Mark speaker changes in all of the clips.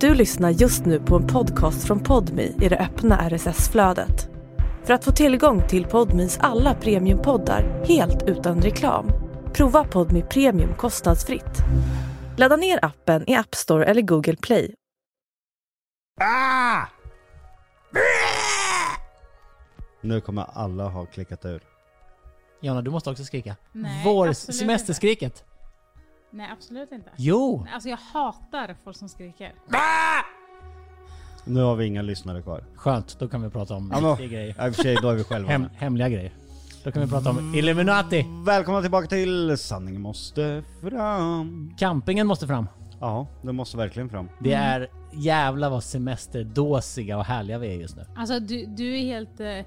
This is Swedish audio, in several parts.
Speaker 1: Du lyssnar just nu på en podcast från Podmi i det öppna RSS-flödet. För att få tillgång till Podmis alla premiumpoddar helt utan reklam, prova Podmi Premium kostnadsfritt. Ladda ner appen i App Store eller Google Play.
Speaker 2: Ah! Nu kommer alla ha klickat ur.
Speaker 3: Jonna, du måste också skrika.
Speaker 4: Nej,
Speaker 3: Vår
Speaker 4: absolut
Speaker 3: semesterskriket.
Speaker 4: Nej, absolut inte.
Speaker 3: Jo!
Speaker 4: Alltså jag hatar folk som skriker.
Speaker 2: Nu har vi inga lyssnare kvar.
Speaker 3: Skönt, då kan vi prata om
Speaker 2: Ja, men-
Speaker 3: viktiga grejer.
Speaker 2: Ja, I och för sig, då är vi själva
Speaker 3: Hem,
Speaker 2: med.
Speaker 3: hemliga grejer. Då kan vi prata om Illuminati.
Speaker 2: Välkomna tillbaka till Sanningen måste fram.
Speaker 3: Campingen måste fram.
Speaker 2: Ja, det måste verkligen fram.
Speaker 3: Det
Speaker 4: Mm.
Speaker 3: är jävla vad semesterdåsiga och härliga vi är just nu.
Speaker 4: Alltså du, du är helt eh,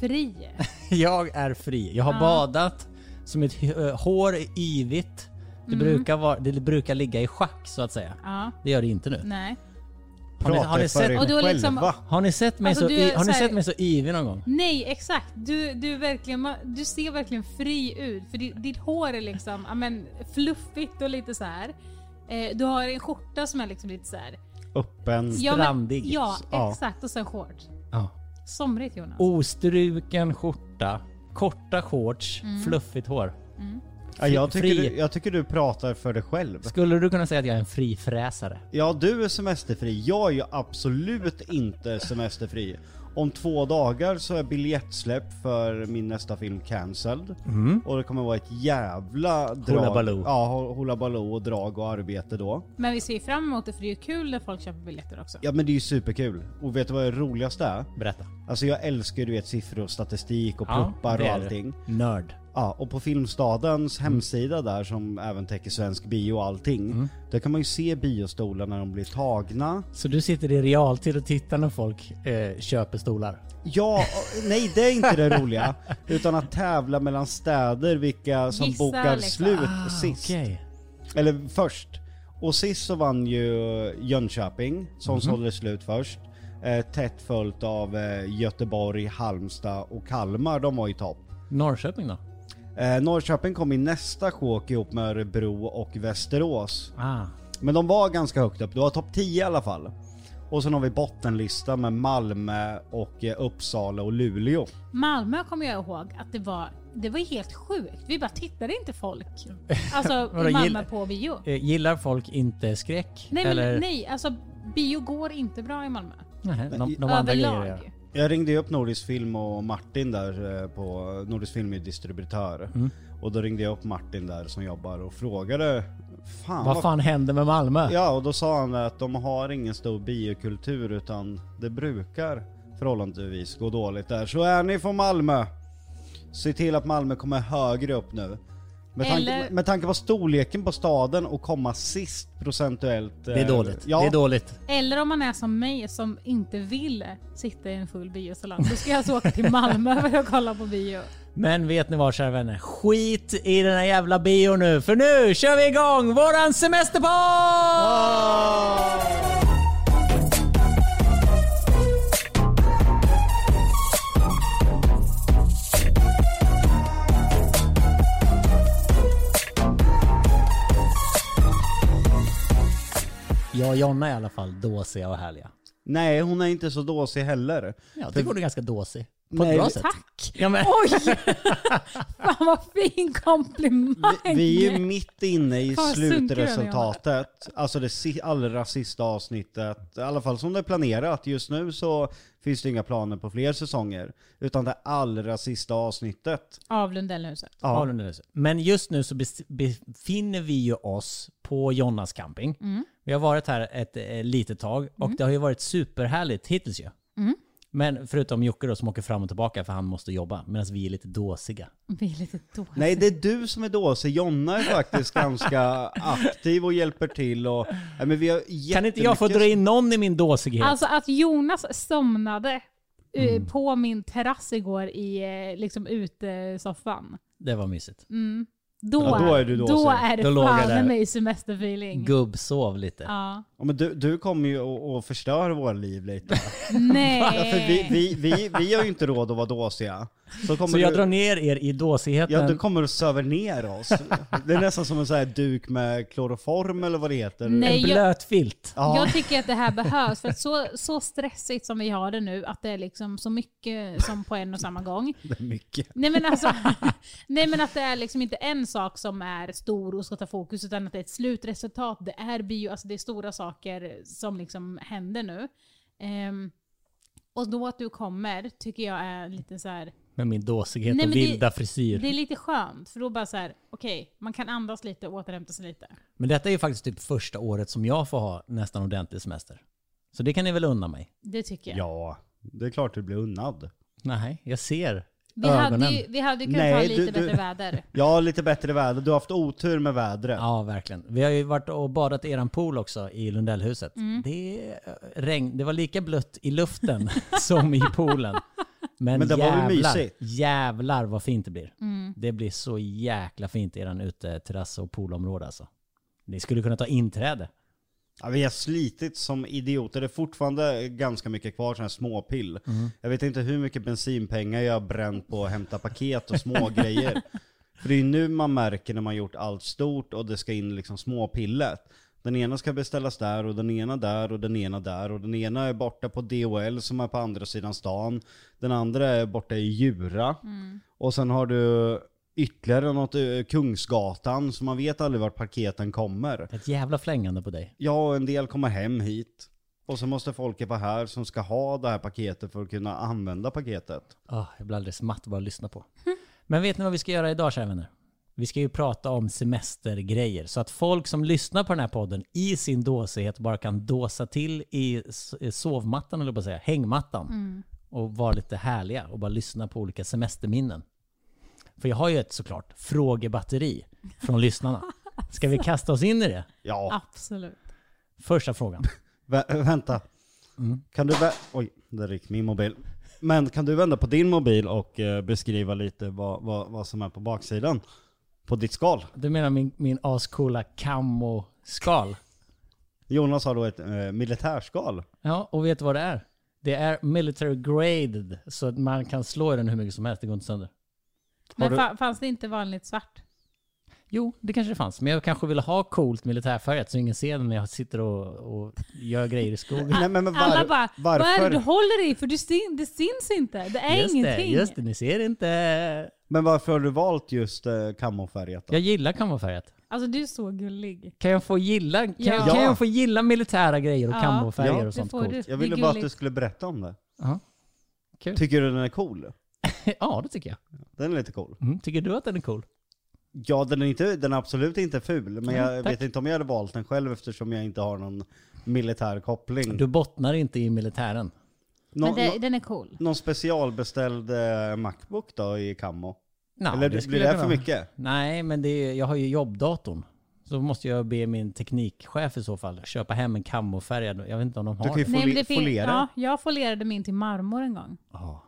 Speaker 4: fri.
Speaker 3: Jag är fri. Jag har badat så mitt eh, hår är yvigt.
Speaker 4: Mm.
Speaker 3: Det, brukar vara, det brukar ligga i schack så att säga.
Speaker 4: Ja,
Speaker 3: Det gör det inte nu.
Speaker 4: nej.
Speaker 3: Har ni, har ni,
Speaker 2: för
Speaker 3: sett,
Speaker 4: Och du har liksom-
Speaker 2: själva.
Speaker 3: har ni sett mig
Speaker 4: Alltså,
Speaker 3: så,
Speaker 4: du
Speaker 3: y-
Speaker 4: är
Speaker 3: har ni
Speaker 4: så här-
Speaker 3: sett mig så yvig någon gång?
Speaker 4: Nej, exakt. Du, du, är verkligen, ma- du ser verkligen fri ut. För ditt, ditt hår är liksom ja, men, fluffigt och lite så här. Eh, du har en skjorta som är liksom lite så här.
Speaker 2: Öppen.
Speaker 4: Ja, men-
Speaker 3: Strandig.
Speaker 4: Ja,
Speaker 2: Ja.
Speaker 4: exakt. Och sen shorts.
Speaker 3: Ja.
Speaker 4: Somrigt Jonas.
Speaker 3: Ostruken skjorta, korta shorts,
Speaker 4: Mm.
Speaker 3: fluffigt hår.
Speaker 2: Ja, jag, tycker
Speaker 3: fri.
Speaker 2: du, jag tycker du pratar för dig själv.
Speaker 3: Skulle du kunna säga att jag är en frifräsare?
Speaker 2: Ja, du är semesterfri. Jag är ju absolut inte semesterfri. Om två dagar så är biljettsläpp för min nästa film cancelled.
Speaker 4: Mm.
Speaker 2: Och det kommer vara ett jävla drag.
Speaker 3: Baloo.
Speaker 2: Ja, ho- Hoola Baloo och drag och arbete då.
Speaker 4: Men vi ser ju fram emot det för det är ju kul när folk köper biljetter också.
Speaker 2: Ja men det är ju superkul. Och vet du vad det roligaste är?
Speaker 3: Berätta.
Speaker 2: Alltså jag älskar ju du vet siffror och statistik och pluppar
Speaker 3: det
Speaker 2: och
Speaker 3: Mm. är du.
Speaker 2: allting.
Speaker 3: Nörd.
Speaker 2: Ja, och på Filmstadens hemsida där som även täcker svensk bio och allting.
Speaker 3: Mm.
Speaker 2: Där kan man ju se biostolar när de blir tagna.
Speaker 3: Så du sitter i realtid och tittar när folk eh, köper stolar?
Speaker 2: Ja, och- nej det är inte det roliga. utan att tävla mellan städer vilka som
Speaker 4: Gissa,
Speaker 2: bokar
Speaker 4: liksom.
Speaker 2: slut Ah, sist.
Speaker 3: Ah, Okej.
Speaker 2: Eller först. Och sist så vann ju Jönköping som sålde slut först. Eh, tätt följt av eh, Göteborg, Halmstad och Kalmar, de var i topp.
Speaker 3: Norrköping då?
Speaker 2: Eh, Norrköping kom i nästa sjok ihop med Örebro och Västerås.
Speaker 3: Ah.
Speaker 2: Men de var ganska högt upp, det var topp 10 i alla fall. Och sen har vi bottenlista med Malmö och eh, Uppsala och Luleå.
Speaker 4: Malmö kommer jag ihåg att det var, det var helt sjukt. Vi bara tittade inte folk. Alltså
Speaker 3: Vadå,
Speaker 4: i Malmö
Speaker 3: gill-
Speaker 4: på bio.
Speaker 3: Eh, gillar folk inte skräck?
Speaker 4: Nej men
Speaker 3: Eller?
Speaker 4: nej, alltså bio går inte bra i Malmö.
Speaker 3: Nej, de, de andra grejer
Speaker 4: Överlag.
Speaker 3: gör.
Speaker 2: Jag ringde ju upp Nordisk Film och Martin där eh, på, Nordisk Film är ju distributör.
Speaker 3: Mm.
Speaker 2: Och då ringde jag upp Martin där som jobbar och frågade Fan,
Speaker 3: Vad fan händer med Malmö?
Speaker 2: Ja och då sa han att de har ingen stor biokultur utan det brukar förhållandevis gå dåligt där. Så är ni från Malmö, se till att Malmö kommer högre upp nu. Med tanke,
Speaker 4: Eller-
Speaker 2: med tanke på storleken på staden och komma sist procentuellt. eh,
Speaker 3: Det är dåligt.
Speaker 2: Ja,
Speaker 3: Det är dåligt.
Speaker 4: Eller om man är som mig som inte vill sitta i en full biosalong. Då ska jag alltså åka till Malmö för att kolla på bio.
Speaker 3: Men vet ni vad kära vänner? Skit i den här jävla bion nu, för nu kör vi igång våran semesterpodd! Jag och Jonna är i alla fall dåsiga och härliga.
Speaker 2: Nej hon är inte så dåsig heller.
Speaker 3: Jag tycker hon är ganska dåsig. På
Speaker 2: Nej,
Speaker 3: ett bra
Speaker 2: vi-
Speaker 3: sätt.
Speaker 4: Tack!
Speaker 3: Ja, men,
Speaker 4: Oj! Fan vad fin komplimang!
Speaker 2: Vi är ju mitt inne i
Speaker 4: Fan,
Speaker 2: slutresultatet, alltså det si- allra sista avsnittet, i alla fall som det är planerat. Just nu så finns det inga planer på fler säsonger, utan det allra sista avsnittet.
Speaker 4: Av Lundellhuset.
Speaker 3: Ja. nu nu. Men just nu så bes- befinner vi ju oss på Jonas camping.
Speaker 4: Mm.
Speaker 3: Vi har varit här ett eh, litet tag och det har ju varit superhärligt hittills ju.
Speaker 4: Mm.
Speaker 3: Men förutom Jocke då som åker fram och tillbaka för han måste jobba medan vi är lite dåsiga.
Speaker 4: Vi är lite dåliga.
Speaker 2: Nej, det är du som är dåsig. Jonna är faktiskt ganska aktiv och hjälper till och... Nej, men vi har
Speaker 3: Kan inte jag få
Speaker 2: jättemycket-
Speaker 3: dra in någon i min dåsighet?
Speaker 4: Alltså att Jonas somnade eh, på min terrass igår i eh, liksom utesoffan.
Speaker 3: Det var mysigt.
Speaker 4: Då,
Speaker 2: Ja, då är du
Speaker 4: då
Speaker 2: dåsig.
Speaker 4: är det
Speaker 3: Då låg jag
Speaker 4: fan
Speaker 3: där.
Speaker 4: med mig semesterfeeling.
Speaker 3: Gubbsov lite.
Speaker 4: Mm. Ja.
Speaker 2: Ja, men du, du kommer ju och, och förstör våra liv lite.
Speaker 4: Nej.
Speaker 2: För Alltså, vi, vi, vi, vi har ju inte råd att vara dåsiga. Så, kommer
Speaker 3: Så jag
Speaker 2: du,
Speaker 3: drar ner er i dåsigheten.
Speaker 2: Ja, du kommer och söver ner oss. Det är nästan som en sån här duk med kloroform eller vad det heter.
Speaker 4: Nej.
Speaker 3: En
Speaker 4: jag-
Speaker 3: blöt filt.
Speaker 2: Ja.
Speaker 4: Jag tycker att det här behövs, för att så, så stressigt som vi har det nu, att det är liksom så mycket som på en och samma gång.
Speaker 2: Det är mycket.
Speaker 4: Nej men alltså, nej men att det är liksom inte en sak som är stor och ska ta fokus, utan att det är ett slutresultat. Det är bio, alltså det är stora saker som liksom händer nu. Ehm, och då att du kommer tycker jag är lite så här.
Speaker 3: Med min dåsighet
Speaker 4: Nej,
Speaker 3: och
Speaker 4: men det-
Speaker 3: vilda frisyr.
Speaker 4: det är lite skönt, för då bara så här, okej, man kan andas lite och återhämta sig lite.
Speaker 3: Men detta är ju faktiskt typ första året som jag får ha nästan ordentlig semester. Så det kan ni väl unna mig?
Speaker 4: Det tycker jag.
Speaker 2: Ja, det är klart du blir unnad.
Speaker 3: Nej, jag ser
Speaker 4: vi,
Speaker 3: ögonen.
Speaker 4: hade ju, vi hade ju kunnat
Speaker 2: Nej,
Speaker 4: ha
Speaker 2: du-
Speaker 4: lite
Speaker 2: du-
Speaker 4: bättre väder.
Speaker 2: Ja, lite bättre väder. Du har haft otur med vädret.
Speaker 3: Ja, verkligen. Vi har ju varit och badat i eran pool också i Lundellhuset.
Speaker 4: Mm.
Speaker 3: Det, eh, regn, det var lika blött i luften som i poolen. Men,
Speaker 2: Men det var väl
Speaker 3: jävlar,
Speaker 2: mysigt?
Speaker 3: jävlar vad fint det blir.
Speaker 4: Mm,
Speaker 3: Det blir så jäkla fint i eran uteterrass och poolområde alltså. Ni skulle kunna ta inträde.
Speaker 2: Ja, vi har slitit som idioter. Det är fortfarande ganska mycket kvar sådana här småpill. Jag vet inte hur mycket bensinpengar jag har bränt på att hämta paket och smågrejer. För det är ju nu man märker när man gjort allt stort och det ska in liksom småpillet. Den ena ska beställas där och den ena där och den ena där och den ena är borta på DHL som är på andra sidan stan. Den andra är borta i Djura. Och sen har du ytterligare något, eh, Kungsgatan, så man vet aldrig vart paketen kommer.
Speaker 3: Ett jävla flängande på dig.
Speaker 2: Ja, och en del kommer hem hit. Och så måste folket vara här som ska ha det här paketet för att kunna använda paketet.
Speaker 3: Ah, jag blir alldeles matt bara att lyssna på. Men vet ni vad vi ska göra idag kära vänner? Vi ska ju prata om semestergrejer så att folk som lyssnar på den här podden i sin dåsighet bara kan dåsa till i s- i sovmattan eller på att säga, hängmattan. Och vara lite härliga och bara lyssna på olika semesterminnen. För jag har ju ett såklart frågebatteri från lyssnarna. Ska vi kasta oss in i det?
Speaker 2: Ja,
Speaker 4: Absolut.
Speaker 3: Första frågan.
Speaker 2: vä- vänta. Kan du vä- Oj, där gick min mobil. Men kan du vända på din mobil och eh, beskriva lite vad, vad, vad som är på baksidan? På ditt skal.
Speaker 3: Du menar min, min ascoola kammo-skal?
Speaker 2: Jonas har då ett eh, militärskal.
Speaker 3: Ja, och vet du vad det är? Det är military graded, så att man kan slå i den hur mycket som helst, det går inte sönder.
Speaker 4: Men
Speaker 2: du-
Speaker 4: fa- fanns det inte vanligt svart?
Speaker 3: Jo, det kanske det fanns, men jag kanske ville ha coolt militärfärgat så ingen ser den när jag sitter och, och gör grejer i skogen.
Speaker 2: Nej, men, men var-
Speaker 4: Alla bara, vad är det du
Speaker 2: varför,
Speaker 4: håller i? För du syn, det syns inte. Det är
Speaker 3: just det,
Speaker 4: ingenting.
Speaker 3: just det, ni ser inte.
Speaker 2: men varför har du valt just eh, kamofärgat då?
Speaker 3: Jag gillar kamofärgat.
Speaker 4: Alltså du är så gullig.
Speaker 3: Kan jag få gilla, kan,
Speaker 4: Ja.
Speaker 3: kan jag få gilla militära grejer och
Speaker 4: Ja.
Speaker 3: kamofärger
Speaker 2: Ja,
Speaker 3: och sånt
Speaker 4: det får
Speaker 3: coolt?
Speaker 2: Jag
Speaker 4: Det är
Speaker 2: ville bara att
Speaker 4: gulligt.
Speaker 2: du skulle berätta om det.
Speaker 3: Ja. Kul.
Speaker 2: Tycker du den är cool?
Speaker 3: ja, det tycker jag.
Speaker 2: Den är lite cool.
Speaker 3: Mm, tycker du att den är cool?
Speaker 2: Ja, den är, inte, den är absolut inte ful, men jag
Speaker 3: tack.
Speaker 2: vet inte om jag hade valt den själv eftersom jag inte har någon militär koppling.
Speaker 3: Du bottnar inte i militären.
Speaker 2: Nå,
Speaker 4: men det,
Speaker 2: nå,
Speaker 4: den är cool.
Speaker 2: någon specialbeställd eh, Macbook då i Kammo?
Speaker 3: Nå,
Speaker 2: Eller
Speaker 3: skulle
Speaker 2: blir det
Speaker 3: jag
Speaker 2: här för
Speaker 3: kunna-
Speaker 2: mycket?
Speaker 3: Nej, men det är, jag har ju jobbdatorn. Så måste jag be min teknikchef i så fall köpa hem en kamofärgad. Jag vet inte om de
Speaker 2: Du
Speaker 3: har
Speaker 2: kan ju
Speaker 3: det.
Speaker 2: foli-
Speaker 4: men det fin-
Speaker 2: foliera
Speaker 4: ja, jag folerade min till marmor en gång.
Speaker 3: Ja,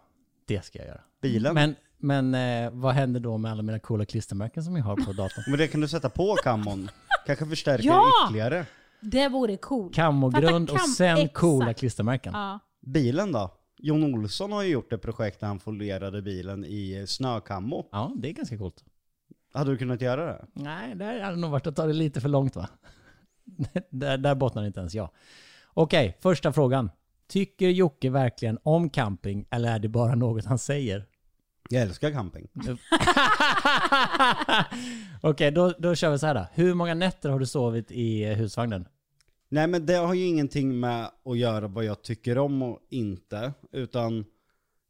Speaker 3: det ska jag göra.
Speaker 2: bilen. Men...
Speaker 3: Men, men eh, vad händer då med alla mina coola klistermärken som jag har på datorn?
Speaker 2: det kan du sätta på Kammon. Kanske förstärka
Speaker 4: Ja!
Speaker 2: ytterligare.
Speaker 4: Det vore coolt.
Speaker 3: Kamogrund och
Speaker 4: Fatta, kam-
Speaker 3: sen
Speaker 4: exakt.
Speaker 3: coola klistermärken.
Speaker 4: Ja.
Speaker 2: Bilen då? Jon Olsson har ju gjort ett projekt där han folierade bilen i eh, snökammo.
Speaker 3: Ja, det är ganska coolt.
Speaker 2: Hade du kunnat göra det?
Speaker 3: Nej, det här hade nog varit att ta det lite för långt va? där, där bottnar inte ens jag. Okej, första frågan. Tycker Jocke verkligen om camping eller är det bara något han säger?
Speaker 2: Jag älskar camping.
Speaker 3: Okej, då, då kör vi så här då. Hur många nätter har du sovit i eh, husvagnen?
Speaker 2: Nej men det har ju ingenting med att göra vad jag tycker om och inte. Utan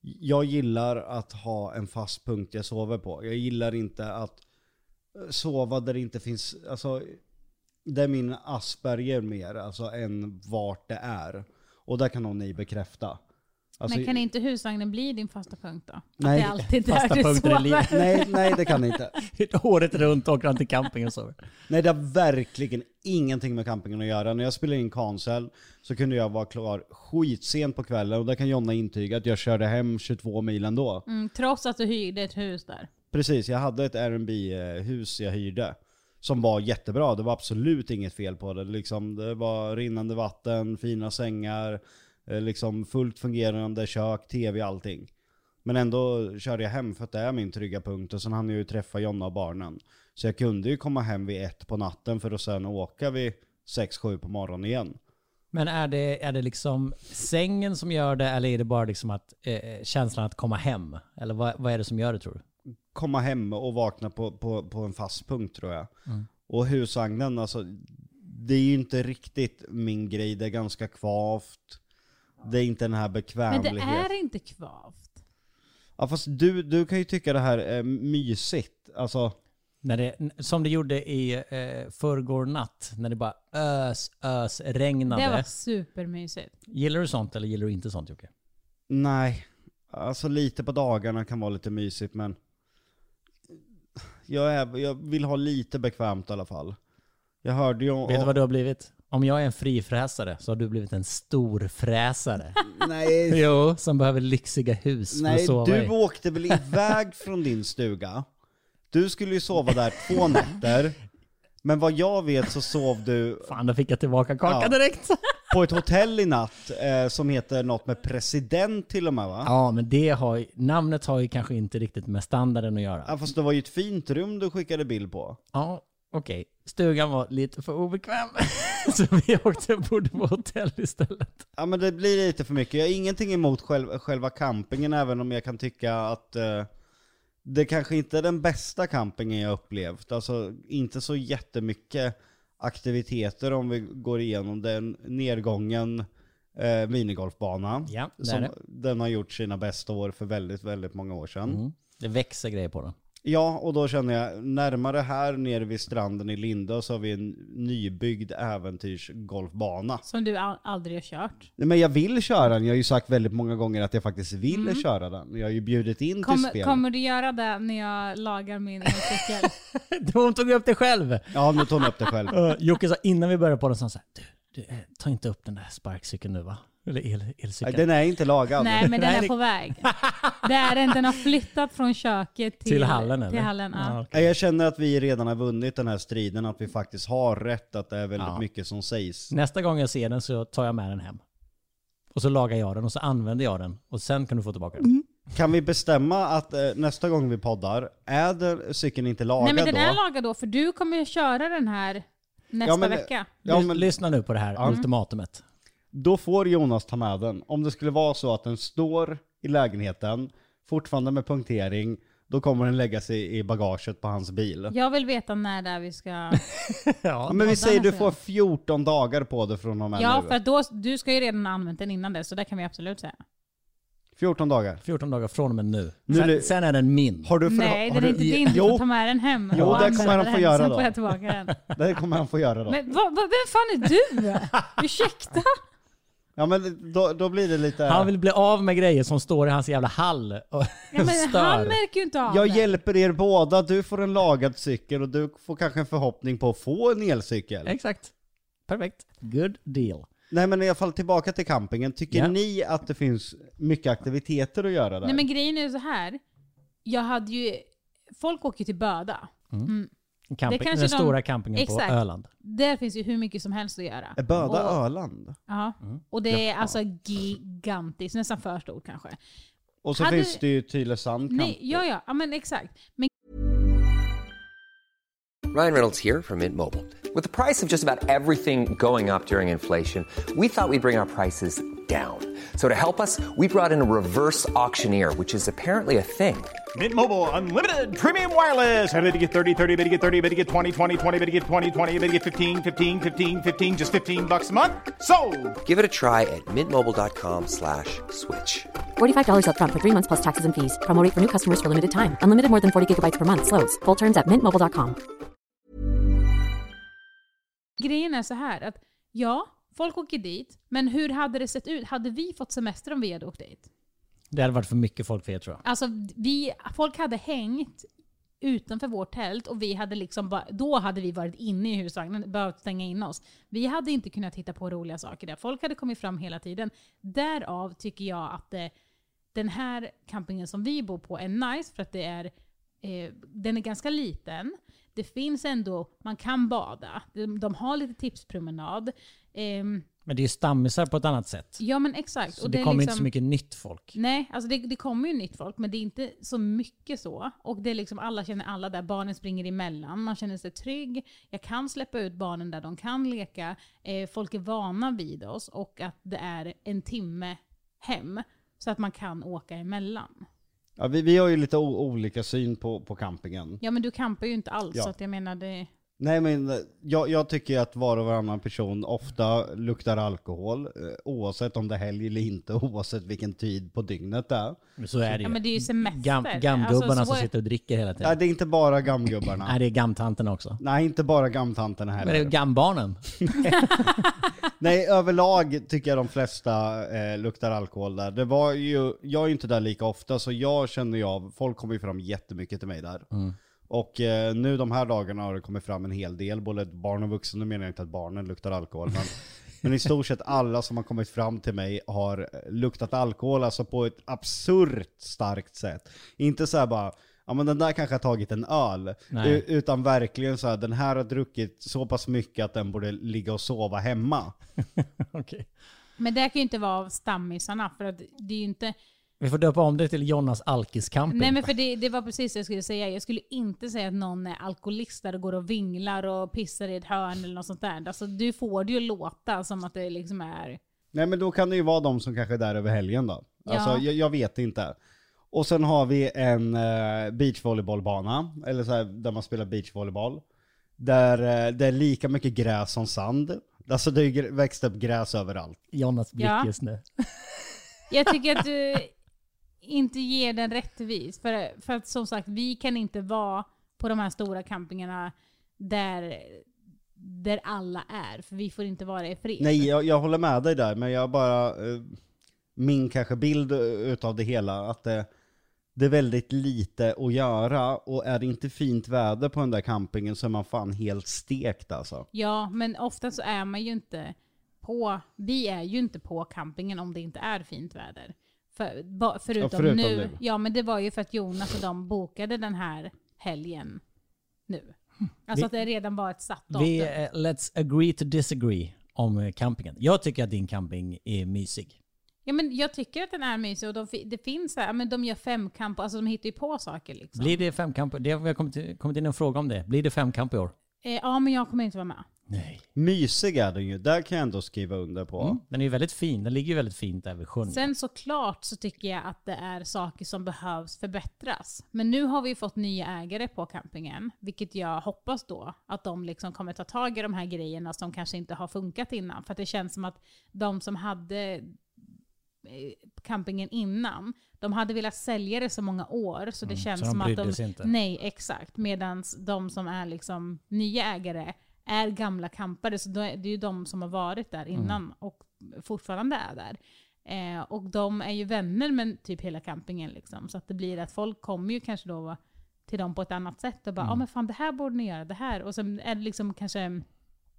Speaker 2: jag gillar att ha en fast punkt jag sover på. Jag gillar inte att eh, sova där det inte finns, alltså det är min Asperger mer, alltså än vart det är. Och där kan nog ni bekräfta. Alltså,
Speaker 4: men kan inte husvagnen bli din fasta punkt då?
Speaker 2: Nej,
Speaker 4: att det är alltid där
Speaker 3: fasta
Speaker 4: du
Speaker 3: punkter i
Speaker 4: sover.
Speaker 3: livet.
Speaker 2: nej, nej det kan ni inte.
Speaker 3: Året runt åker han till camping och sover.
Speaker 2: Nej det har verkligen ingenting med campingen att göra. När jag spelade in Kansel så kunde jag vara klar skitsent på kvällen och där kan Jonna intyga att jag körde hem 22 mil ändå.
Speaker 4: Mm, trots att du hyrde ett hus där.
Speaker 2: Precis, eh, jag hade ett Airbnb-hus jag hyrde. som var jättebra. Det var absolut inget fel på det. Liksom, det var rinnande vatten, fina sängar, eh, liksom fullt fungerande kök, tv, allting. Men ändå körde jag hem för att det är min trygga punkt och sen hann jag ju träffa Jonna och barnen. Så jag kunde ju komma hem vid ett på natten för att sen åka vid sex sju på morgonen igen.
Speaker 3: Men är det, är det liksom sängen som gör det eller är det bara liksom att, eh, känslan att komma hem? Eller vad, vad är det som gör det tror du?
Speaker 2: komma hem och vakna på, på, på en fast punkt tror jag.
Speaker 3: Mm.
Speaker 2: Och husvagnen, alltså, det är ju inte riktigt min grej. Det är ganska kvavt. Det är inte den här
Speaker 4: Men det
Speaker 2: bekvämligheten.
Speaker 4: är inte kvavt.
Speaker 2: Ja, fast du, du kan ju tycka det här är mysigt. Alltså,
Speaker 3: När det, som det gjorde i eh, förrgår natt när det bara ös, ös regnade.
Speaker 4: Det var supermysigt.
Speaker 3: Gillar du sånt eller gillar du inte sånt Jocke?
Speaker 2: nej. Alltså lite på dagarna kan vara lite mysigt men jag, är, jag vill ha lite bekvämt i alla fall. Jag hörde ju om...
Speaker 3: Vet du vad du har blivit? Om jag är en frifräsare så har du blivit en storfräsare.
Speaker 2: Nej,
Speaker 3: jo, som behöver lyxiga hus för att
Speaker 2: Nej,
Speaker 3: sova
Speaker 2: du
Speaker 3: i.
Speaker 2: åkte väl iväg från din stuga? Du skulle ju sova där två nätter, men vad jag vet så sov du
Speaker 3: Fan, då fick jag tillbaka kakan
Speaker 2: Ja.
Speaker 3: direkt.
Speaker 2: på ett hotell i natt eh, som heter något med president till och med va?
Speaker 3: ja, men det har ju, namnet har ju kanske inte riktigt med standarden att göra.
Speaker 2: Ja. Fast det var ju ett fint rum du skickade bild på.
Speaker 3: Ja, okej. Stugan var lite för obekväm. så vi åkte och bodde på hotell istället.
Speaker 2: Ja men det blir lite för mycket. Jag har ingenting emot själv, själva campingen även om jag kan tycka att eh, det kanske inte är den bästa campingen jag upplevt. Alltså inte så jättemycket aktiviteter om vi går igenom den nedgången eh, minigolfbana.
Speaker 3: Ja, det är
Speaker 2: som
Speaker 3: det.
Speaker 2: Den har gjort sina bästa år för väldigt, väldigt många år sedan.
Speaker 3: Mm. Det växer grejer på den.
Speaker 2: Ja, och då känner jag närmare här nere vid stranden i Lindö så har vi en nybyggd äventyrsgolfbana.
Speaker 4: Som du al- aldrig har kört.
Speaker 2: Nej men jag vill köra den, jag har ju sagt väldigt många gånger att jag faktiskt vill köra den. Jag har ju bjudit in till
Speaker 4: Mm. Kommer,
Speaker 2: spel.
Speaker 4: kommer du göra det när jag lagar min elcykel?
Speaker 3: Hon tog upp det själv.
Speaker 2: Ja nu tog hon upp det själv.
Speaker 3: Uh, Jocke sa innan vi började på den, så sa han så här, du, du eh, ta inte upp den där sparkcykeln nu va? Eller el,
Speaker 2: Nej,
Speaker 3: elcykeln.
Speaker 2: Den är inte lagad.
Speaker 4: Nej men den
Speaker 3: Nej,
Speaker 4: är
Speaker 3: det-
Speaker 4: på väg. Det är den, den har flyttat från köket till,
Speaker 3: till hallen eller?
Speaker 4: Till hallen, ja.
Speaker 3: Ja, okej.
Speaker 2: Nej, Jag känner att vi redan har vunnit den här striden, att vi faktiskt har rätt, att det är väldigt
Speaker 3: Ja.
Speaker 2: mycket som sägs.
Speaker 3: Nästa gång jag ser den så tar jag med den hem. Och så lagar jag den och så använder jag den. Och sen kan du få tillbaka den.
Speaker 4: Mm.
Speaker 2: Kan vi bestämma att eh, nästa gång vi poddar, är det, cykeln inte lagad
Speaker 4: Nej men den
Speaker 2: då?
Speaker 4: är lagad då för du kommer ju köra den här nästa
Speaker 2: Ja, men-
Speaker 4: vecka.
Speaker 2: Ja,
Speaker 3: Lys-
Speaker 2: men-
Speaker 3: Lyssna nu på det här ultimatumet.
Speaker 2: Då får Jonas ta med den. Om det skulle vara så att den står i lägenheten, fortfarande med punktering, då kommer den lägga sig i bagaget på hans bil.
Speaker 4: Jag vill veta när det är vi ska...
Speaker 2: Ja, men vi säger du
Speaker 4: nästa
Speaker 2: får
Speaker 4: gång.
Speaker 2: 14 dagar på dig från och med
Speaker 4: Ja
Speaker 2: nu.
Speaker 4: för att då, du ska ju redan ha använt den innan det så det kan vi absolut säga.
Speaker 2: 14 dagar.
Speaker 3: 14 dagar från och med nu.
Speaker 2: Nu är det-
Speaker 3: Sen, sen är den min.
Speaker 2: Har du för...
Speaker 4: Nej
Speaker 2: har
Speaker 4: den är inte
Speaker 2: du...
Speaker 4: din, du får ta
Speaker 2: Jo,
Speaker 4: med den hem.
Speaker 2: Jo,
Speaker 4: och
Speaker 2: det
Speaker 4: använda
Speaker 2: kommer han
Speaker 4: den
Speaker 2: få
Speaker 4: hem,
Speaker 2: göra
Speaker 4: sen
Speaker 2: då.
Speaker 4: får jag tillbaka den.
Speaker 2: det kommer han få göra då.
Speaker 4: Men vad, vad, vem fan är du? Ursäkta?
Speaker 2: Ja men då, då blir det lite...
Speaker 3: Han vill bli av med grejer som står i hans jävla hall och
Speaker 4: Ja, men han
Speaker 3: stör.
Speaker 4: märker ju inte av
Speaker 2: Jag
Speaker 4: det.
Speaker 2: hjälper er båda, du får en lagad cykel och du får kanske en förhoppning på att få en elcykel.
Speaker 3: Exakt. Perfekt. Good deal.
Speaker 2: Nej men i alla fall tillbaka till campingen. Tycker
Speaker 3: Ja.
Speaker 2: ni att det finns mycket aktiviteter att göra där?
Speaker 4: Nej men grejen är ju så här. Jag hade ju... Folk åker ju till Böda.
Speaker 3: Camping,
Speaker 4: kanske
Speaker 3: den
Speaker 4: de-
Speaker 3: stora campingen
Speaker 4: Exakt.
Speaker 3: på Öland.
Speaker 4: Där finns ju hur mycket som helst att göra.
Speaker 2: Är Böda
Speaker 4: och,
Speaker 2: Öland?
Speaker 4: Ja. Och det är alltså gigantiskt, nästan för stort kanske.
Speaker 2: Och så
Speaker 4: Hade-
Speaker 2: finns det ju Tylösand camping.
Speaker 4: Nej, ja, ja, ja, men exakt. Men
Speaker 5: Ryan Reynolds here from Mint Mobile. With the price of just about everything going up during inflation, we thought we'd bring our prices down. So to help us, we brought in a reverse auctioneer, which is apparently a thing.
Speaker 6: Mint Mobile unlimited premium wireless. Ready to get 30, 30, ready to get 30, ready to get 20, 20, 20, ready to get 20, 20, ready to get 15, 15, 15, 15 just 15 bucks a month. Sold.
Speaker 5: Give it a try at mintmobile.com slash switch.
Speaker 7: $45 upfront for three months plus taxes and fees. Promo rate for new customers for limited time. Unlimited more than 40 gigabytes per month. Slows. Full terms at mintmobile.com.
Speaker 4: grejen är så här att ja, folk åker dit, men hur hade det sett ut? Hade vi fått semester om vi hade åkt dit?
Speaker 3: Det hade varit för mycket folk för er tror jag.
Speaker 4: Alltså, vi, folk hade hängt utanför vårt tält och vi hade liksom bara, då hade vi varit inne i husvagnen, behövt stänga in oss. Vi hade inte kunnat hitta på roliga saker där. Folk hade kommit fram hela tiden. Därav tycker jag att eh, den här campingen som vi bor på är nice för att det är, eh, den är ganska liten. det finns ändå, man kan bada. De, de har lite tipspromenad. Ehm,
Speaker 3: Men det är ju stammisar på ett annat sätt.
Speaker 4: ja men exakt.
Speaker 3: Så det, kommer inte
Speaker 4: liksom-
Speaker 3: så mycket nytt folk.
Speaker 4: Nej, alltså det, det kommer ju nytt folk, men det är inte så mycket så. Och det är liksom alla känner alla där, barnen springer emellan, man känner sig trygg. Jag kan släppa ut barnen där de kan leka. Eh, folk är vana vid oss och att det är en timme hem. Så att man kan åka emellan.
Speaker 2: Ja, vi, vi har ju lite o- olika syn på, på campingen.
Speaker 4: Ja men du campar ju inte alls,
Speaker 2: Ja.
Speaker 4: så att jag menar det...
Speaker 2: Nej men eh, jag, jag tycker att var och varannan person ofta luktar alkohol, eh, oavsett om det är helg eller inte, oavsett vilken tid på dygnet det är.
Speaker 3: Men Så är det
Speaker 4: Mm. Ja
Speaker 3: ju.
Speaker 4: men det är ju semester.
Speaker 3: Gam, gamgubbarna
Speaker 4: Alltså, så
Speaker 3: som
Speaker 4: är-
Speaker 3: sitter och dricker hela tiden.
Speaker 2: Nej, det är inte bara gamgubbarna.
Speaker 3: Nej, det är gamtanterna också.
Speaker 2: Nej, inte bara gamtanterna
Speaker 3: Men det är
Speaker 2: heller.
Speaker 3: gambarnen.
Speaker 2: Nej, överlag tycker jag de flesta eh, luktar alkohol där. Det var ju, jag är ju inte där lika ofta, så jag känner ju av, folk kommer ju fram jättemycket till mig där. Och eh, nu de här dagarna har det kommit fram en hel del, både barn och vuxna, nu menar jag inte att barnen luktar alkohol, men, men i stort sett alla som har kommit fram till mig har eh, luktat alkohol, alltså på ett absurt starkt sätt. Inte så här bara, ja men den där kanske har tagit en öl,
Speaker 3: Nej.
Speaker 2: U- utan verkligen så här, den här har druckit så pass mycket att den borde ligga och sova hemma.
Speaker 3: Okej.
Speaker 4: Men det här kan ju inte vara av stammisarna, för att det är ju inte...
Speaker 3: Vi får döpa om det till Jonas Alkiscamping.
Speaker 4: Nej men för det, det var precis det jag skulle säga. Jag skulle inte säga att någon är alkoholist där och går och vinglar och pissar i ett hörn eller något sånt där. Alltså du får det ju låta som att det liksom är...
Speaker 2: Nej men då kan det ju vara de som kanske är där över helgen då.
Speaker 4: Ja.
Speaker 2: Alltså jag, jag vet inte. Och sen har vi en eh, beachvolleybollbana, eller så här, där man spelar beachvolleyboll. Där eh, det är lika mycket gräs som sand. Alltså det är ju gr- växt upp gräs överallt.
Speaker 3: Jonas blick
Speaker 4: Ja.
Speaker 3: just nu.
Speaker 4: Jag tycker att du inte ger den rättvis. För, för att som sagt, vi kan inte vara på de här stora campingarna där, där alla är. För vi får inte vara i fred.
Speaker 2: Nej jag, jag håller med dig där, men jag bara, eh, min kanske bild eh, utav det hela, att det, det är väldigt lite att göra och är det inte fint väder på den där campingen så är man fan helt stekt alltså.
Speaker 4: Ja, men ofta så är man ju inte på, vi är ju inte på campingen om det inte är fint väder. För, ba, förutom,
Speaker 2: Ja, förutom
Speaker 4: nu,
Speaker 2: nu.
Speaker 4: Ja, men det var ju för att Jonas och de bokade den här helgen nu. Alltså
Speaker 3: Vi-
Speaker 4: att det redan var ett satt datum.
Speaker 3: Vi, eh, let's agree to disagree om eh, campingen. Jag tycker att din camping är mysig.
Speaker 4: ja, men jag tycker att den är mysig och de, fi- det finns så här, men de gör femkamp, alltså de hittar ju på saker liksom.
Speaker 3: Blir det femkamp? Det har kommit, kommit in en fråga om det. Blir det femkamp i år?
Speaker 4: Eh, ja, men jag kommer inte vara med.
Speaker 3: Nej.
Speaker 2: Mysig är den ju, där kan jag ändå skriva under på.
Speaker 3: Den är ju väldigt fin. Den ligger ju väldigt fint där vid sjön.
Speaker 4: Sen såklart så tycker jag att det är saker som behövs förbättras. Men nu har vi ju fått nya ägare på campingen, vilket jag hoppas då att de liksom kommer ta tag i de här grejerna som kanske inte har funkat innan. För att det känns som att de som hade eh, campingen innan, de hade velat sälja det så många år så det
Speaker 3: Mm,
Speaker 4: känns
Speaker 3: så de
Speaker 4: som att
Speaker 3: brydde
Speaker 4: de...
Speaker 3: sig inte.
Speaker 4: Nej, exakt. Medan de som är liksom nya ägare är gamla campare, så då är- det är ju de som har varit där innan
Speaker 3: Mm.
Speaker 4: och fortfarande är där. Eh, och de är ju vänner med typ hela campingen. Liksom. Så att det blir att folk kommer ju kanske då till dem på ett annat sätt och bara
Speaker 3: Mm.
Speaker 4: ja men fan det här borde ni göra, det här. Och sen är det liksom kanske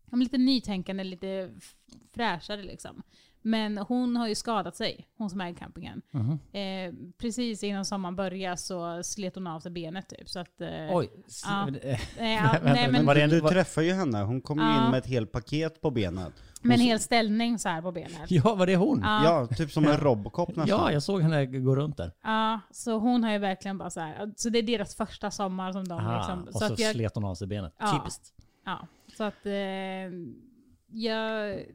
Speaker 4: ja, men lite nytänkande, lite f- fräschare liksom. Men hon har ju skadat sig, hon som äger campingen.
Speaker 3: Mm-hmm.
Speaker 4: Eh, precis innan sommaren började så slet hon av sig benet typ. Så att, eh,
Speaker 3: Oj. s-
Speaker 4: Ja.
Speaker 3: eh,
Speaker 4: Nej, ja,
Speaker 3: Vänta,
Speaker 4: nej, men,
Speaker 3: var det en-
Speaker 2: Du
Speaker 3: var-
Speaker 2: träffar ju henne, hon kom ju
Speaker 4: Ja.
Speaker 2: in med ett helt paket på benet.
Speaker 4: men hel ställning så här på benet.
Speaker 3: Ja, var det hon? Ja.
Speaker 2: Ja, typ som en Robocop nästan.
Speaker 3: jag såg henne gå runt där.
Speaker 4: Ja, så hon har ju verkligen bara så här. Så det är deras första sommar som de
Speaker 3: Ah,
Speaker 4: liksom.
Speaker 3: och så,
Speaker 4: att jag,
Speaker 3: slet hon av sig benet.
Speaker 4: Ja.
Speaker 3: Typiskt.
Speaker 4: ja, så att eh, jag,